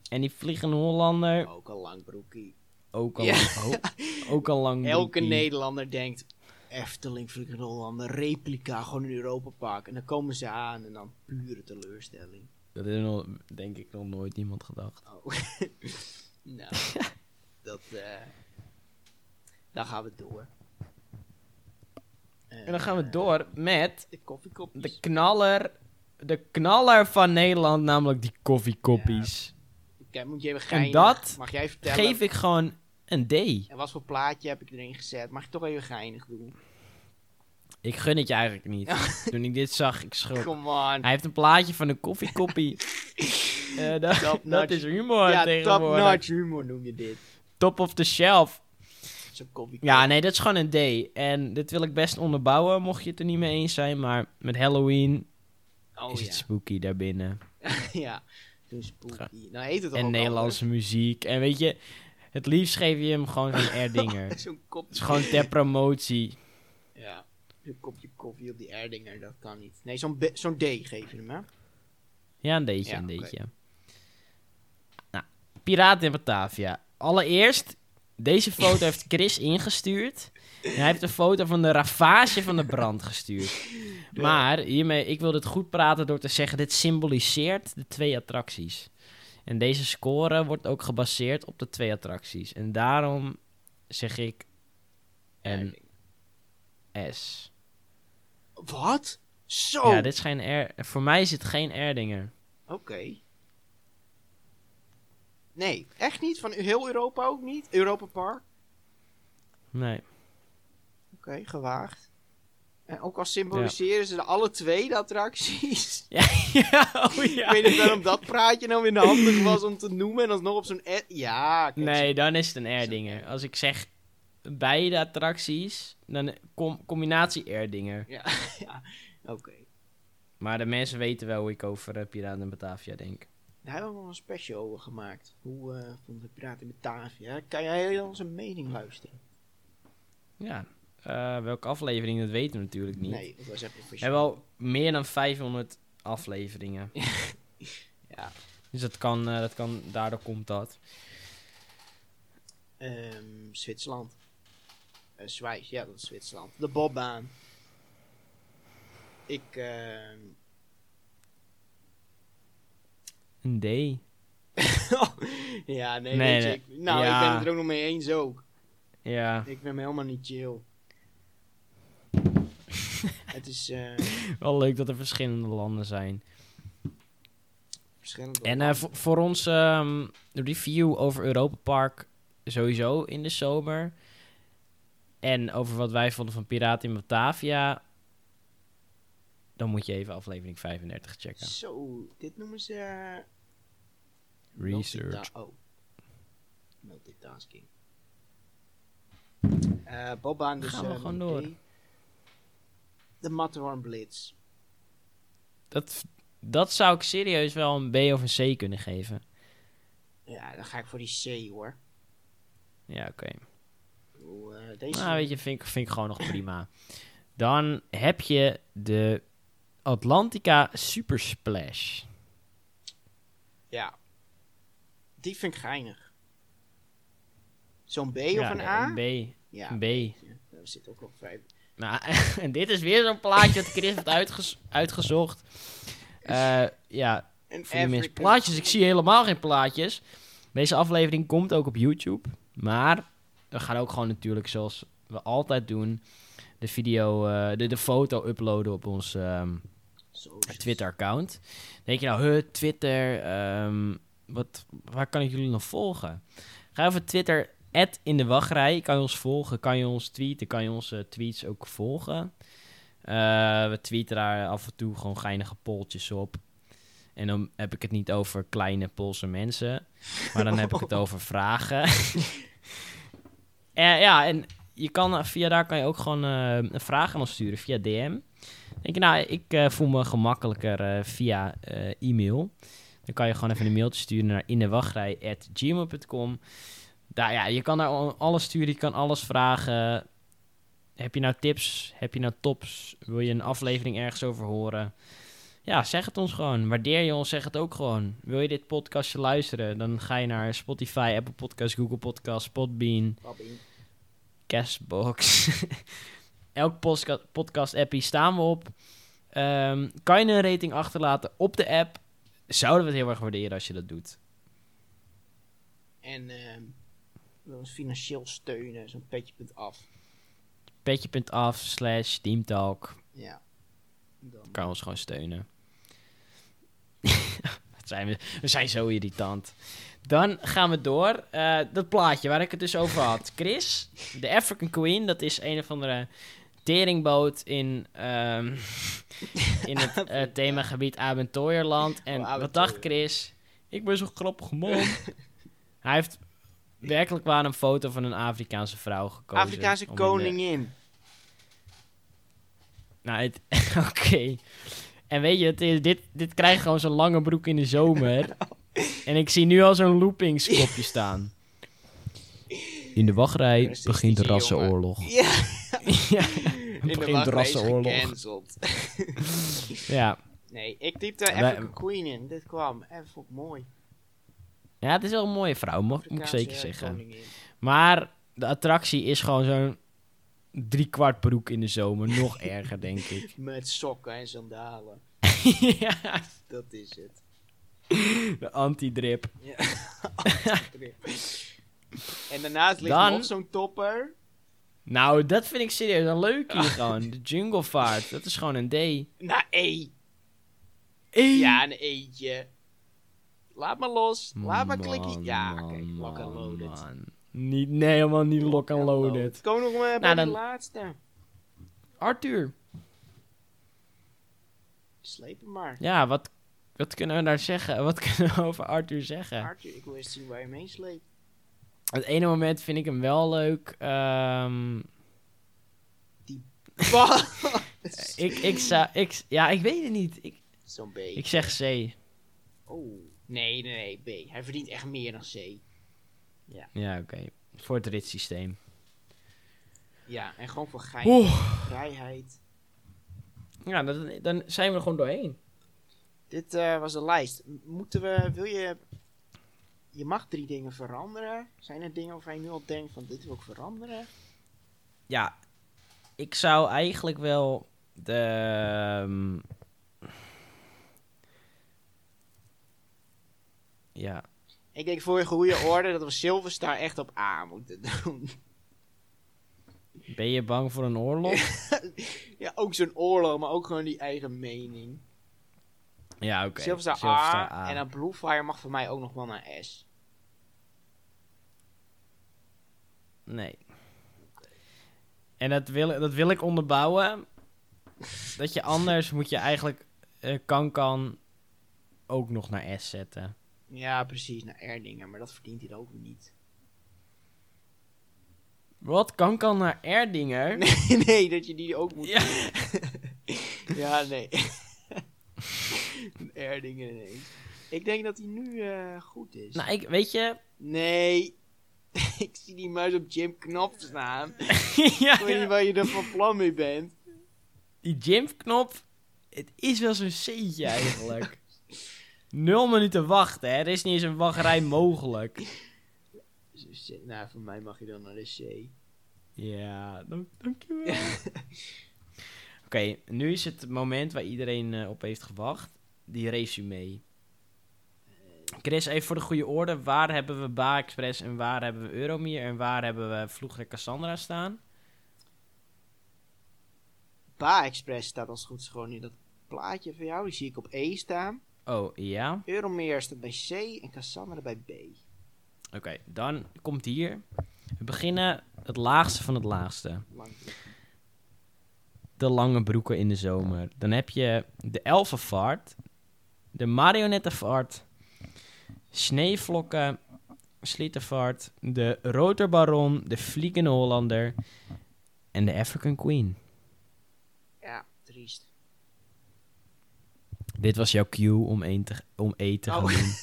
[SPEAKER 1] En die vliegende Hollander,
[SPEAKER 2] ook een lang broekie.
[SPEAKER 1] ook al,
[SPEAKER 2] Ja.
[SPEAKER 1] ho-
[SPEAKER 2] (laughs)
[SPEAKER 1] ook al lang
[SPEAKER 2] Elke
[SPEAKER 1] broekie.
[SPEAKER 2] Nederlander denkt, Efteling, Frikken Hollander, replica, gewoon een Europa Park. En dan komen ze aan en dan pure teleurstelling.
[SPEAKER 1] Dat is nog, denk ik nog nooit iemand gedacht.
[SPEAKER 2] Oh. (laughs)
[SPEAKER 1] (laughs)
[SPEAKER 2] nou, dat. eh dan gaan we door. Eh,
[SPEAKER 1] En dan gaan we door met
[SPEAKER 2] De koffiekopjes.
[SPEAKER 1] de knaller, de knaller van Nederland, namelijk die koffiekoppies.
[SPEAKER 2] Oké, moet je even geinig.
[SPEAKER 1] dat
[SPEAKER 2] Mag jij vertellen?
[SPEAKER 1] Geef ik gewoon een D.
[SPEAKER 2] En wat voor plaatje heb ik erin gezet? Mag ik toch even geinig doen?
[SPEAKER 1] Ik gun het je eigenlijk niet. (laughs) Toen ik dit zag, ik schrok.
[SPEAKER 2] Come on.
[SPEAKER 1] Hij heeft een plaatje van een
[SPEAKER 2] (laughs)
[SPEAKER 1] koffiekoppie. Eh, (laughs) dat,
[SPEAKER 2] Top
[SPEAKER 1] dat
[SPEAKER 2] notch.
[SPEAKER 1] is humor
[SPEAKER 2] ja, top
[SPEAKER 1] tegenwoordig.
[SPEAKER 2] notch humor noem je dit.
[SPEAKER 1] Top of the shelf.
[SPEAKER 2] Zo'n koffiekop.
[SPEAKER 1] Ja, nee, dat is gewoon een D. En dit wil ik best onderbouwen, mocht je het er niet mee eens zijn. Maar met Halloween
[SPEAKER 2] oh
[SPEAKER 1] is
[SPEAKER 2] ja.
[SPEAKER 1] het spooky daarbinnen.
[SPEAKER 2] (laughs) ja. Toen spooky. Nou heet het al.
[SPEAKER 1] en Nederlandse muziek. En weet je, het liefst geef je hem gewoon
[SPEAKER 2] (laughs)
[SPEAKER 1] zo'n R-dinger. Het
[SPEAKER 2] Zo'n kop.
[SPEAKER 1] is gewoon ter promotie.
[SPEAKER 2] Ja. Zo'n kopje koffie op die Erdinger, dat kan niet. Nee, zo'n be- zo'n D geef je hem, hè?
[SPEAKER 1] Ja, een D'tje,
[SPEAKER 2] Ja,
[SPEAKER 1] een
[SPEAKER 2] oké.
[SPEAKER 1] D'tje. Nou, Piraten in Batavia. Allereerst, deze foto heeft (laughs) Chris ingestuurd. En hij heeft een foto van de ravage van de brand gestuurd. Maar hiermee, ik wil dit goed praten door te zeggen... dit symboliseert de twee attracties. En deze score wordt ook gebaseerd op de twee attracties. En daarom zeg ik een
[SPEAKER 2] Erdinger.
[SPEAKER 1] S.
[SPEAKER 2] Wat? Zo!
[SPEAKER 1] Ja, dit is geen R. Voor mij is het geen Erdinger.
[SPEAKER 2] Oké. Nee, echt niet? Van heel Europa ook niet? Europa Park?
[SPEAKER 1] Nee.
[SPEAKER 2] Oké, gewaagd. En ook al symboliseren ze de alle twee de attracties.
[SPEAKER 1] (laughs) ja, oh (laughs) ja.
[SPEAKER 2] Ik weet niet waarom dat praatje nou weer handig was om te noemen en alsnog op zo'n... ad- Ja, kijk,
[SPEAKER 1] Nee, dan is het een R-dinger. Als ik zeg beide attracties, dan com combinatie R-dinger.
[SPEAKER 2] Ja, ja. oké.
[SPEAKER 1] Maar de mensen weten wel hoe ik over eh, Piraten en Batavia denk.
[SPEAKER 2] Daar hebben we nog een special over gemaakt. Hoe eh vond ik Piraten in Batavia? Kan jij heel onze mening luisteren?
[SPEAKER 1] Ja. Eh, welke aflevering, dat weten we natuurlijk niet.
[SPEAKER 2] Nee, dat was echt een
[SPEAKER 1] We
[SPEAKER 2] special.
[SPEAKER 1] hebben al meer dan 500 afleveringen.
[SPEAKER 2] (laughs) Ja.
[SPEAKER 1] Dus dat kan, eh, dat kan, daardoor komt dat.
[SPEAKER 2] Ehm, Zwitserland. Eh Zwijs, ja, dat is Zwitserland. De Bobbaan. Ik, ehm
[SPEAKER 1] Een D.
[SPEAKER 2] ja,
[SPEAKER 1] Nee,
[SPEAKER 2] nee, weet je,
[SPEAKER 1] nee.
[SPEAKER 2] ik- nou,
[SPEAKER 1] Ja.
[SPEAKER 2] ik ben het er ook nog mee eens ook.
[SPEAKER 1] Ja,
[SPEAKER 2] Ik ben me helemaal
[SPEAKER 1] (laughs)
[SPEAKER 2] niet chill. het is eh,
[SPEAKER 1] wel leuk dat er verschillende landen zijn.
[SPEAKER 2] verschillend.
[SPEAKER 1] En eh, voor, voor ons ehm, review over Europa Park sowieso in de zomer. En over wat wij vonden van Piraten in Batavia. Dan moet je even aflevering 35 checken.
[SPEAKER 2] Zo, dit noemen ze... eh,
[SPEAKER 1] Research.
[SPEAKER 2] multita- Oh. Multitasking. Eh Bobbaan dus...
[SPEAKER 1] Gaan we
[SPEAKER 2] eh,
[SPEAKER 1] gewoon
[SPEAKER 2] nummer
[SPEAKER 1] door.
[SPEAKER 2] drie. De Matterhorn Blitz.
[SPEAKER 1] Dat, dat zou ik serieus wel een B of een C kunnen geven.
[SPEAKER 2] Ja, dan ga ik voor die C hoor.
[SPEAKER 1] Ja, oké.
[SPEAKER 2] Ik bedoel, eh, deze
[SPEAKER 1] Nou, weet je, vind ik, vind ik gewoon nog prima. Dan heb je de Atlantica Super Splash.
[SPEAKER 2] Ja. Die vind ik geinig. Zo'n B
[SPEAKER 1] ja,
[SPEAKER 2] of een A?
[SPEAKER 1] Een B.
[SPEAKER 2] Ja,
[SPEAKER 1] Een B.
[SPEAKER 2] daar zit ook nog vijf.
[SPEAKER 1] Nou, (laughs) en dit is weer zo'n plaatje dat Chris heeft uitges- uitgezocht. Eh, ja,
[SPEAKER 2] Een
[SPEAKER 1] voor die mensen.
[SPEAKER 2] African-
[SPEAKER 1] Plaatjes, ik zie helemaal geen plaatjes. Deze aflevering komt ook op YouTube. Maar we gaan ook gewoon natuurlijk, zoals we altijd doen, de video, eh, de, de foto uploaden op ons ehm,
[SPEAKER 2] Socials.
[SPEAKER 1] Twitter-account. Denk je nou, huh, Twitter, ehm, wat, waar kan ik jullie nog volgen? Ga even Twitter, in de wachtrij. Kan je ons volgen, kan je ons tweeten, kan je onze tweets ook volgen. Eh, we tweeten daar af en toe gewoon geinige poltjes op. En dan heb ik het niet over kleine Poolse mensen, maar dan heb ik het over vragen. (laughs) Eh, ja, en je kan, eh, via daar kan je ook gewoon eh, een vraag aan ons sturen via DM. Denk je, nou, ik eh, voel me gemakkelijker eh, via eh, e-mail. Dan kan je gewoon even een mailtje sturen naar innewachtrij.gmail.com. Daar, ja, je kan daar al- alles sturen, je kan alles vragen. Heb je nou tips? Heb je nou tops? Wil je een aflevering ergens over horen? Ja, zeg het ons gewoon. Waardeer je ons, zeg het ook gewoon. Wil je dit podcastje luisteren? Dan ga je naar Spotify, Apple Podcasts, Google Podcasts, Podbean,
[SPEAKER 2] Babbie.
[SPEAKER 1] Castbox. (laughs) Elk podcast-appie staan we op. Ehm, kan je een rating achterlaten op de app? Zouden we het heel erg waarderen als je dat doet.
[SPEAKER 2] En ehm, wil ons financieel steunen, zo'n petje punt af.
[SPEAKER 1] Petje.af slash teamtalk.
[SPEAKER 2] Ja. Dan,
[SPEAKER 1] Kan je ons gewoon steunen. (laughs) Wat zijn we? we zijn zo irritant. Dan gaan we door. Eh, dat plaatje waar ik het dus over had. Chris, de African Queen, dat is een of andere teringboot in,
[SPEAKER 2] (laughs)
[SPEAKER 1] ehm, in het eh, themagebied Abentoyerland. En
[SPEAKER 2] Oh,
[SPEAKER 1] wat
[SPEAKER 2] Abentoier.
[SPEAKER 1] dacht Chris? Ik ben zo'n grappig man.
[SPEAKER 2] (laughs)
[SPEAKER 1] Hij heeft werkelijk waar een foto van een Afrikaanse vrouw gekozen.
[SPEAKER 2] Afrikaanse
[SPEAKER 1] om in de-
[SPEAKER 2] koningin.
[SPEAKER 1] nou, het- (laughs) oké. En weet je, het is, dit, dit krijgt gewoon zo'n lange broek in de (laughs) zomer. en ik zie nu al zo'n loopingskopje staan. In de wachtrij
[SPEAKER 2] Racistisch,
[SPEAKER 1] begint de
[SPEAKER 2] jongen.
[SPEAKER 1] rassenoorlog.
[SPEAKER 2] Ja,
[SPEAKER 1] ja,
[SPEAKER 2] in de
[SPEAKER 1] begint
[SPEAKER 2] wachtrij is
[SPEAKER 1] rassenoorlog.
[SPEAKER 2] gecanceld.
[SPEAKER 1] (laughs) ja.
[SPEAKER 2] Nee, ik typte African Queen in. Dit kwam. En vond ik mooi.
[SPEAKER 1] ja, het is wel een mooie vrouw, mo- moet ik
[SPEAKER 2] Afrikaanse
[SPEAKER 1] zeker zeggen.
[SPEAKER 2] koningin.
[SPEAKER 1] Maar de attractie is gewoon zo'n driekwart broek in de zomer. (laughs) Nog erger, denk ik.
[SPEAKER 2] Met sokken en sandalen.
[SPEAKER 1] ja,
[SPEAKER 2] Dat is het.
[SPEAKER 1] de anti-drip.
[SPEAKER 2] Ja. en daarnaast ligt
[SPEAKER 1] Dan-
[SPEAKER 2] nog zo'n topper.
[SPEAKER 1] Nou, dat vind ik serieus een leuk (laughs) hier gewoon. De junglevaart, dat is gewoon een D.
[SPEAKER 2] Nou, E.
[SPEAKER 1] Hey.
[SPEAKER 2] Ja, een eentje. Laat maar los. Laat maar
[SPEAKER 1] Man,
[SPEAKER 2] klikken. Ja, oké.
[SPEAKER 1] man,
[SPEAKER 2] Lock and
[SPEAKER 1] man,
[SPEAKER 2] loaded.
[SPEAKER 1] man. Niet, nee, helemaal niet lock and loaded.
[SPEAKER 2] Kom nog maar bij
[SPEAKER 1] Nou,
[SPEAKER 2] de
[SPEAKER 1] dan-
[SPEAKER 2] laatste.
[SPEAKER 1] Arthur.
[SPEAKER 2] Sleep hem maar.
[SPEAKER 1] Ja, wat, wat kunnen we daar zeggen? Wat (laughs) kunnen we over Arthur zeggen?
[SPEAKER 2] Arthur, ik wil eens zien waar je mee sleept. (laughs)
[SPEAKER 1] Het ene moment vind ik hem wel leuk. ehm, (laughs) ik, ik zou... Ik, ja, ik weet het niet. Ik,
[SPEAKER 2] Zo'n B.
[SPEAKER 1] ik zeg C.
[SPEAKER 2] Oh. Nee, nee, nee, B. Hij verdient echt meer dan C.
[SPEAKER 1] Ja, oké. Voor het ritssysteem.
[SPEAKER 2] Ja, en gewoon voor gein.
[SPEAKER 1] Oeh.
[SPEAKER 2] Vrijheid.
[SPEAKER 1] Ja, dan, dan zijn we er gewoon doorheen.
[SPEAKER 2] Dit eh, was de lijst. M- Moeten we, wil je, je mag drie dingen veranderen. Zijn er dingen waarvan je nu al denkt van dit wil ik veranderen?
[SPEAKER 1] Ja, ik zou eigenlijk wel de. ehm, ja.
[SPEAKER 2] Ik denk voor je goede orde dat we Silverstar echt op A moeten (laughs) doen.
[SPEAKER 1] Ben je bang voor een
[SPEAKER 2] (laughs)
[SPEAKER 1] oorlog?
[SPEAKER 2] ja, ook zo'n oorlog, maar ook gewoon die eigen mening.
[SPEAKER 1] ja, oké.
[SPEAKER 2] Silverstar,
[SPEAKER 1] Silverstar
[SPEAKER 2] A, en dan Bluefire mag voor mij ook nog wel naar S.
[SPEAKER 1] Nee. En dat wil, dat wil ik onderbouwen. dat je anders moet je eigenlijk eh, kan kan ook nog naar S zetten.
[SPEAKER 2] Ja, precies, naar R dingen, maar dat verdient hij ook niet.
[SPEAKER 1] Wat? Kan kan naar R dinger?
[SPEAKER 2] Nee, (laughs) nee, dat je die ook moet...
[SPEAKER 1] Ja.
[SPEAKER 2] (laughs) Ja, nee. R dingen ineens. Ik denk dat hij nu eh, goed is.
[SPEAKER 1] Nou, ik, weet
[SPEAKER 2] (laughs)
[SPEAKER 1] je...
[SPEAKER 2] Nee. ik zie die muis op Jim Knop staan.
[SPEAKER 1] (laughs) ja,
[SPEAKER 2] Ik weet niet waar je er van plan mee bent.
[SPEAKER 1] Die gymknop, het is wel zo'n C'tje eigenlijk. Nul minuten wachten, hè. Er is niet eens een wachtrij mogelijk.
[SPEAKER 2] Dus, eh, Nou, voor mij mag je dan naar de C.
[SPEAKER 1] Ja, dank, dankjewel. Oké, nu is het moment waar iedereen eh, op heeft gewacht. Die resume. Chris, even voor de goede orde. Waar hebben we Ba Express en waar hebben we Euromir en waar hebben we Vloegre Cassandra staan?
[SPEAKER 2] Ba Express staat als het goed is gewoon in dat plaatje van jou. Die zie ik op E staan.
[SPEAKER 1] Oh, ja.
[SPEAKER 2] Euromeer staat bij C en Cassandra bij B.
[SPEAKER 1] Oké, dan komt hier. We beginnen het laagste van het laagste.
[SPEAKER 2] Lang.
[SPEAKER 1] de lange broeken in de zomer. Dan heb je de elfenvaart, de marionettenvaart, sneeuwvlokken, slietenvaart, de rotorbaron, de vliegende Hollander en de African Queen.
[SPEAKER 2] Ja, triest.
[SPEAKER 1] Dit was jouw cue om één te, om E te gaan
[SPEAKER 2] Oh.
[SPEAKER 1] doen.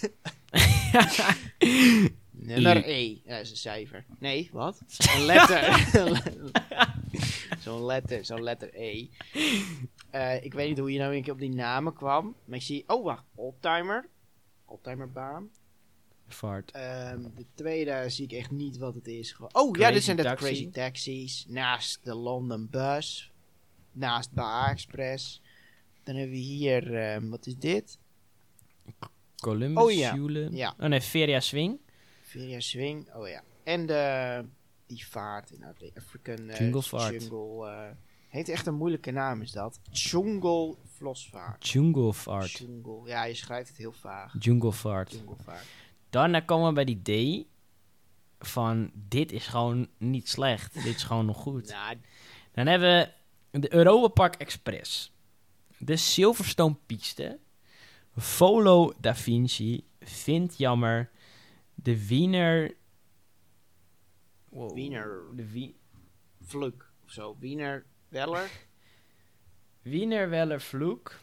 [SPEAKER 2] Nummer E. Ja, dat is een cijfer. Nee,
[SPEAKER 1] (laughs)
[SPEAKER 2] wat? Een letter. (laughs) zo'n letter, zo'n letter E. Eh, ik weet niet hoe je nou een keer op die namen kwam. Maar ik zie, oh wacht, Optimer. Optimerbaan.
[SPEAKER 1] Vaart.
[SPEAKER 2] Ehm, de tweede zie ik echt niet wat het is. Gewoon- Oh ja, dit
[SPEAKER 1] Crazy
[SPEAKER 2] zijn de
[SPEAKER 1] Taxi.
[SPEAKER 2] Crazy Taxis. Naast de London Bus. Naast Baha Express. Dan hebben we hier, ehm, wat is dit?
[SPEAKER 1] Columbus,
[SPEAKER 2] Oh ja,
[SPEAKER 1] Jule-
[SPEAKER 2] ja.
[SPEAKER 1] Oh nee, Feria Swing.
[SPEAKER 2] Via Swing, oh ja. En de, die vaart in de African eh,
[SPEAKER 1] Junglevaart.
[SPEAKER 2] Jungle, eh, heeft echt een moeilijke naam, is dat? Jungle Vlosvaart.
[SPEAKER 1] Jungle Vaart.
[SPEAKER 2] Jungle, ja, je schrijft het heel vaag.
[SPEAKER 1] Jungle Vaart.
[SPEAKER 2] Junglevaart.
[SPEAKER 1] Daarna komen we bij die D. Van dit is gewoon niet slecht. dit is gewoon nog goed.
[SPEAKER 2] Nou,
[SPEAKER 1] Dan hebben we de Europa Park Express. De Silverstone Piste. Volo da Vinci. Vind jammer. De Wiener. Wow.
[SPEAKER 2] Wiener.
[SPEAKER 1] De Wie-
[SPEAKER 2] Vluk of zo. Wiener Weller.
[SPEAKER 1] Wiener Weller Vloek.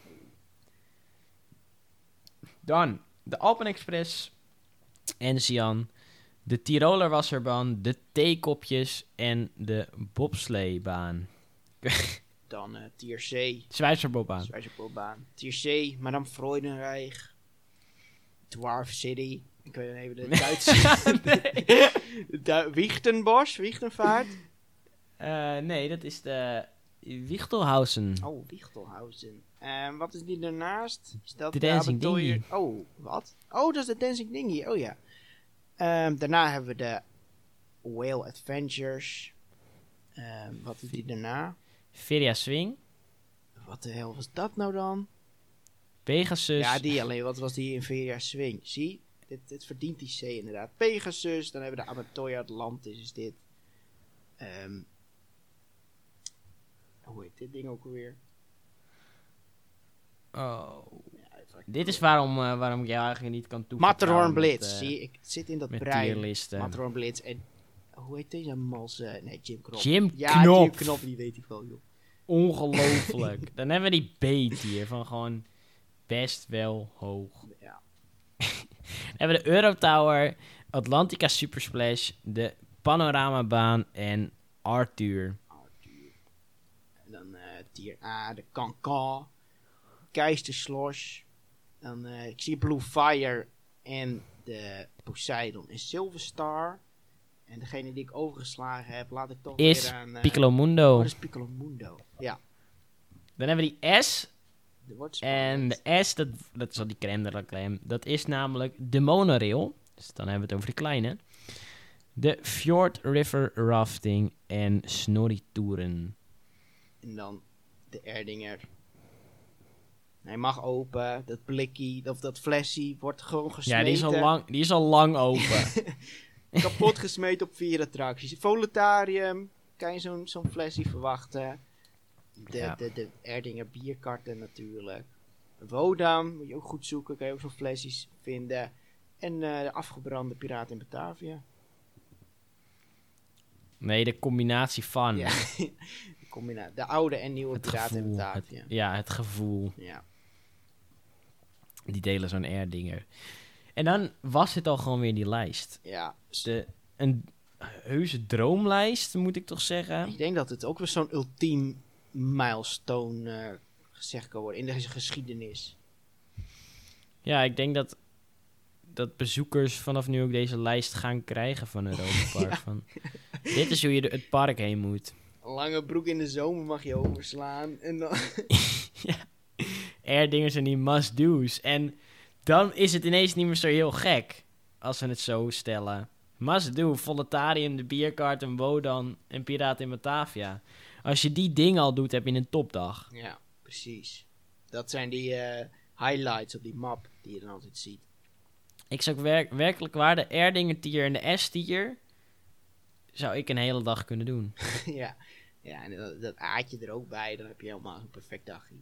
[SPEAKER 1] Dan de Alpen Express. Enzian. De Tiroler Wasserbaan. De Theekopjes. En de Bobsleebaan.
[SPEAKER 2] Dan eh, Tier C. (laughs)
[SPEAKER 1] (laughs) Zwijzerbobbaan.
[SPEAKER 2] Zwijzerpoolbaan. Tier C, Madame Freudenreich. Dwarf City. Ik weet even
[SPEAKER 1] (laughs)
[SPEAKER 2] de Duitse... Du- Wichtenbosch, Wichtenvaart.
[SPEAKER 1] Eh, nee, dat is de Wichtelhausen.
[SPEAKER 2] Oh, Wichtelhausen. Ehm, wat is die daarnaast? Is dat
[SPEAKER 1] De Dancing
[SPEAKER 2] Abertoyer- Oh, wat? Oh, dat is de Dancing Dingy. Oh ja. Ehm, daarna hebben we de Whale Adventures. Ehm, wat is die daarna?
[SPEAKER 1] Feria Swing.
[SPEAKER 2] Wat de hel was dat nou dan?
[SPEAKER 1] Pegasus.
[SPEAKER 2] Ja, die alleen. Wat was die Inferia Swing? Zie, dit, dit verdient die C inderdaad. Pegasus, dan hebben we de Amatoya Atlantis, is dit. Ehm, hoe heet dit ding ook alweer?
[SPEAKER 1] Oh.
[SPEAKER 2] Ja, even-
[SPEAKER 1] Dit is waarom, eh, waarom ik jou eigenlijk niet kan toevoegen.
[SPEAKER 2] Matterhorn Blitz, zie, ik het zit in dat
[SPEAKER 1] eh, Met eh.
[SPEAKER 2] brein.
[SPEAKER 1] tierlisten.
[SPEAKER 2] Matron Blitz en hoe heet deze mals? eh, nee, Jim Knop.
[SPEAKER 1] Jim
[SPEAKER 2] ja, Jim
[SPEAKER 1] Knop.
[SPEAKER 2] Knop, die weet ik wel, joh. (laughs)
[SPEAKER 1] Ongelooflijk. Dan hebben we die B tier van gewoon best wel hoog.
[SPEAKER 2] Ja.
[SPEAKER 1] Dan hebben we de Eurotower, Atlantica Supersplash, de Panoramabaan en Arthur.
[SPEAKER 2] Arthur. ah, En dan eh, tier A, de Kankan. Keisterslosh. Dan eh, ik zie Blue Fire en de Poseidon en Silver Star. En degene die ik overgeslagen heb, laat ik toch
[SPEAKER 1] Is
[SPEAKER 2] weer aan... eh,
[SPEAKER 1] Piccolo
[SPEAKER 2] Oh,
[SPEAKER 1] Mundo.
[SPEAKER 2] dat is Piccolo Mundo. Ja.
[SPEAKER 1] Dan hebben we die S.
[SPEAKER 2] de wordt
[SPEAKER 1] En de S, dat, dat is al die crème de la crème. Dat is namelijk de monorail. Dus dan hebben we het over de kleine. De Fjord River Rafting en Snorri-toeren.
[SPEAKER 2] En dan de Erdinger. Hij mag open, dat blikkie, of dat flesje wordt gewoon gesmeten.
[SPEAKER 1] Ja, die is, al lang, die is al lang open. (laughs)
[SPEAKER 2] Kapot gesmeten op vier attracties. Voletarium, kan je zo'n zo'n flesje verwachten. De,
[SPEAKER 1] Ja.
[SPEAKER 2] de, de Erdinger bierkarten natuurlijk. Wodam, moet je ook goed zoeken, kan je ook zo'n flesjes vinden. En eh, de afgebrande piraat in Batavia.
[SPEAKER 1] Nee, de combinatie van.
[SPEAKER 2] Ja, de, combina- de oude en nieuwe
[SPEAKER 1] het
[SPEAKER 2] piraat in
[SPEAKER 1] gevoel. Het,
[SPEAKER 2] Batavia.
[SPEAKER 1] ja, het gevoel.
[SPEAKER 2] Ja.
[SPEAKER 1] Die delen zo'n R-dinger. En dan was het al gewoon weer die lijst.
[SPEAKER 2] ja,
[SPEAKER 1] De, een heuse droomlijst, moet ik toch zeggen.
[SPEAKER 2] Ik denk dat het ook weer zo'n ultiem milestone eh, gezegd kan worden in deze geschiedenis.
[SPEAKER 1] Ja, ik denk dat, dat bezoekers vanaf nu ook deze lijst gaan krijgen van Europa Park. van, dit is hoe je de- het park heen moet.
[SPEAKER 2] Lange broek in de zomer mag je overslaan. En dan
[SPEAKER 1] Air-dingers en die must-do's. En dan is het ineens niet meer zo heel gek, als we het zo stellen. Must-do, Voletarium, de bierkaart, een Wodan en Piraat in Batavia. Als je die dingen al doet, heb je een topdag.
[SPEAKER 2] ja, precies. Dat zijn die eh, highlights op die map die je dan altijd ziet. (laughs)
[SPEAKER 1] Ik zou werk, werkelijk waar de R-dingen tier en de S-tier... zou ik een hele dag kunnen doen.
[SPEAKER 2] ja. ja, en dat, dat aatje er ook bij, dan heb je helemaal een perfect dagje.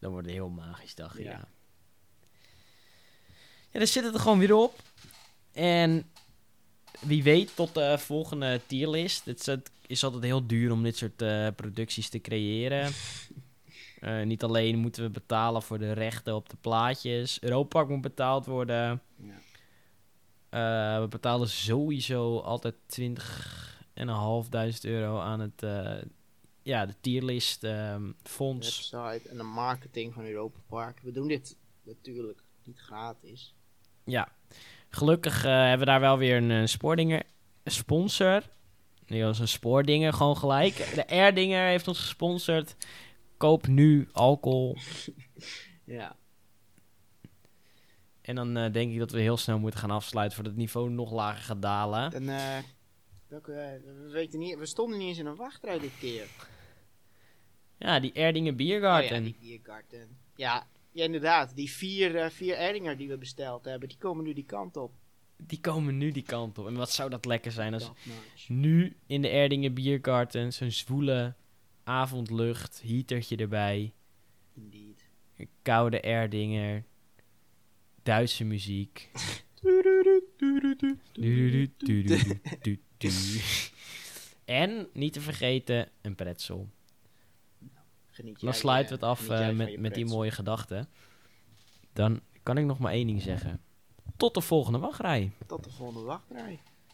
[SPEAKER 1] Dan wordt het een heel magisch dag, ja.
[SPEAKER 2] Ja.
[SPEAKER 1] ja. dan zit het er gewoon weer op. En wie weet tot de volgende tierlist. Het is, het is altijd heel duur om dit soort eh, producties te creëren. Eh, niet alleen moeten we betalen voor de rechten op de plaatjes. Europark moet betaald worden.
[SPEAKER 2] Ja.
[SPEAKER 1] Eh, we betalen sowieso altijd 20.500 euro aan het... eh, ja, de tierlist ehm,
[SPEAKER 2] De
[SPEAKER 1] fonds.
[SPEAKER 2] website en de marketing van Europa Park. We doen dit natuurlijk niet gratis.
[SPEAKER 1] Ja, gelukkig eh, hebben we daar wel weer een, eh, spoordinger een sponsor. Die was een spoordinger, gewoon gelijk. De R-dinger heeft ons gesponsord. Koop nu alcohol.
[SPEAKER 2] Ja.
[SPEAKER 1] En dan eh, denk ik dat we heel snel moeten gaan afsluiten voordat het niveau nog lager gaat dalen.
[SPEAKER 2] En eh, welke, eh, we, weten niet, we stonden niet eens in een wachtrij dit keer.
[SPEAKER 1] Ja, die R-dinger
[SPEAKER 2] Oh ja,
[SPEAKER 1] Biergarten.
[SPEAKER 2] die Biergarten. Ja, ja, inderdaad. Die vier, eh, vier Erdinger die we besteld hebben, die komen nu die kant op.
[SPEAKER 1] Die komen nu die kant op. En wat zou dat lekker zijn als
[SPEAKER 2] Top notch.
[SPEAKER 1] nu in de Erdingen Biergarten zo'n zwoele avondlucht, heatertje erbij.
[SPEAKER 2] Indeed.
[SPEAKER 1] koude Erdinger, Duitse
[SPEAKER 2] (laughs)
[SPEAKER 1] muziek. Du- du- du- du- du- du. En niet te vergeten een pretzel.
[SPEAKER 2] Geniet
[SPEAKER 1] Dan
[SPEAKER 2] jij,
[SPEAKER 1] sluiten
[SPEAKER 2] eh,
[SPEAKER 1] we het af
[SPEAKER 2] geniet jij
[SPEAKER 1] eh,
[SPEAKER 2] van
[SPEAKER 1] met,
[SPEAKER 2] je
[SPEAKER 1] met die
[SPEAKER 2] pretzel.
[SPEAKER 1] mooie gedachten. Dan kan ik nog maar één ding zeggen. Tot de volgende wachtrij.
[SPEAKER 2] Tot de volgende wachtrij.